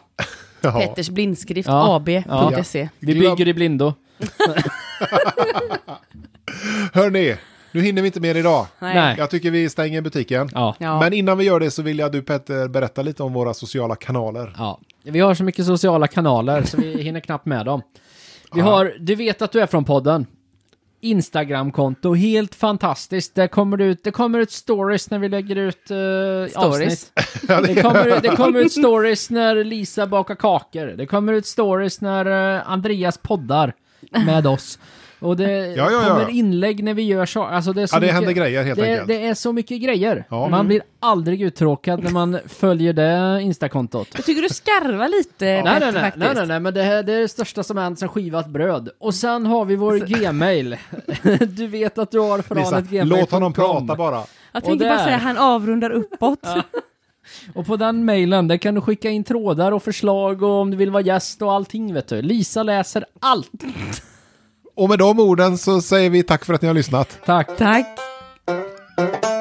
Speaker 2: Ja.
Speaker 3: Petters blindskrift
Speaker 1: Ja.
Speaker 3: AB.se.
Speaker 1: Vi
Speaker 2: Glöm-
Speaker 1: bygger i blindo.
Speaker 2: Hörni, nu hinner vi inte mer idag.
Speaker 3: Nej.
Speaker 1: Nej.
Speaker 2: Jag tycker vi stänger butiken.
Speaker 1: Ja.
Speaker 3: Ja.
Speaker 2: Men innan vi gör det så vill jag att du Petter berättar lite om våra sociala kanaler.
Speaker 1: ja. Vi har så mycket sociala kanaler så vi hinner knappt med dem. Vi har Du vet att du är från podden. Instagramkonto, helt fantastiskt. Där kommer det ut, det kommer ut stories när vi lägger ut eh, avsnitt. <laughs>
Speaker 3: Stories.
Speaker 1: Det kommer, det kommer ut stories när Lisa bakar kakor. Det kommer ut stories när eh, Andreas poddar med oss. Och det
Speaker 2: <laughs> ja, ja.
Speaker 1: kommer inlägg när vi gör så. Alltså det är så
Speaker 2: Ja, det
Speaker 1: mycket,
Speaker 2: händer grejer, helt
Speaker 1: det,
Speaker 2: enkelt.
Speaker 1: Det är så mycket grejer.
Speaker 2: Ja.
Speaker 1: Man blir aldrig uttråkad när man följer det Instakontot.
Speaker 3: Jag tycker du skarvar lite
Speaker 1: Nej,
Speaker 3: Petter,
Speaker 1: nej, nej,
Speaker 3: faktiskt.
Speaker 1: nej, nej, nej, men det här det är det största som hänt sen skivat bröd. Och sen har vi <laughs> vår gmail. Du vet att du har
Speaker 2: Lisa,
Speaker 1: förhållandet gmail.
Speaker 2: låt honom prata bara.
Speaker 3: Jag
Speaker 1: Och
Speaker 3: tänkte
Speaker 1: där.
Speaker 3: bara säga han avrundar uppåt.
Speaker 1: Och på den mejlen, där kan du skicka in trådar och förslag och om du vill vara gäst och allting vet du. Lisa läser allt.
Speaker 2: Och med de orden så säger vi tack för att ni har lyssnat.
Speaker 1: Tack.
Speaker 3: Tack!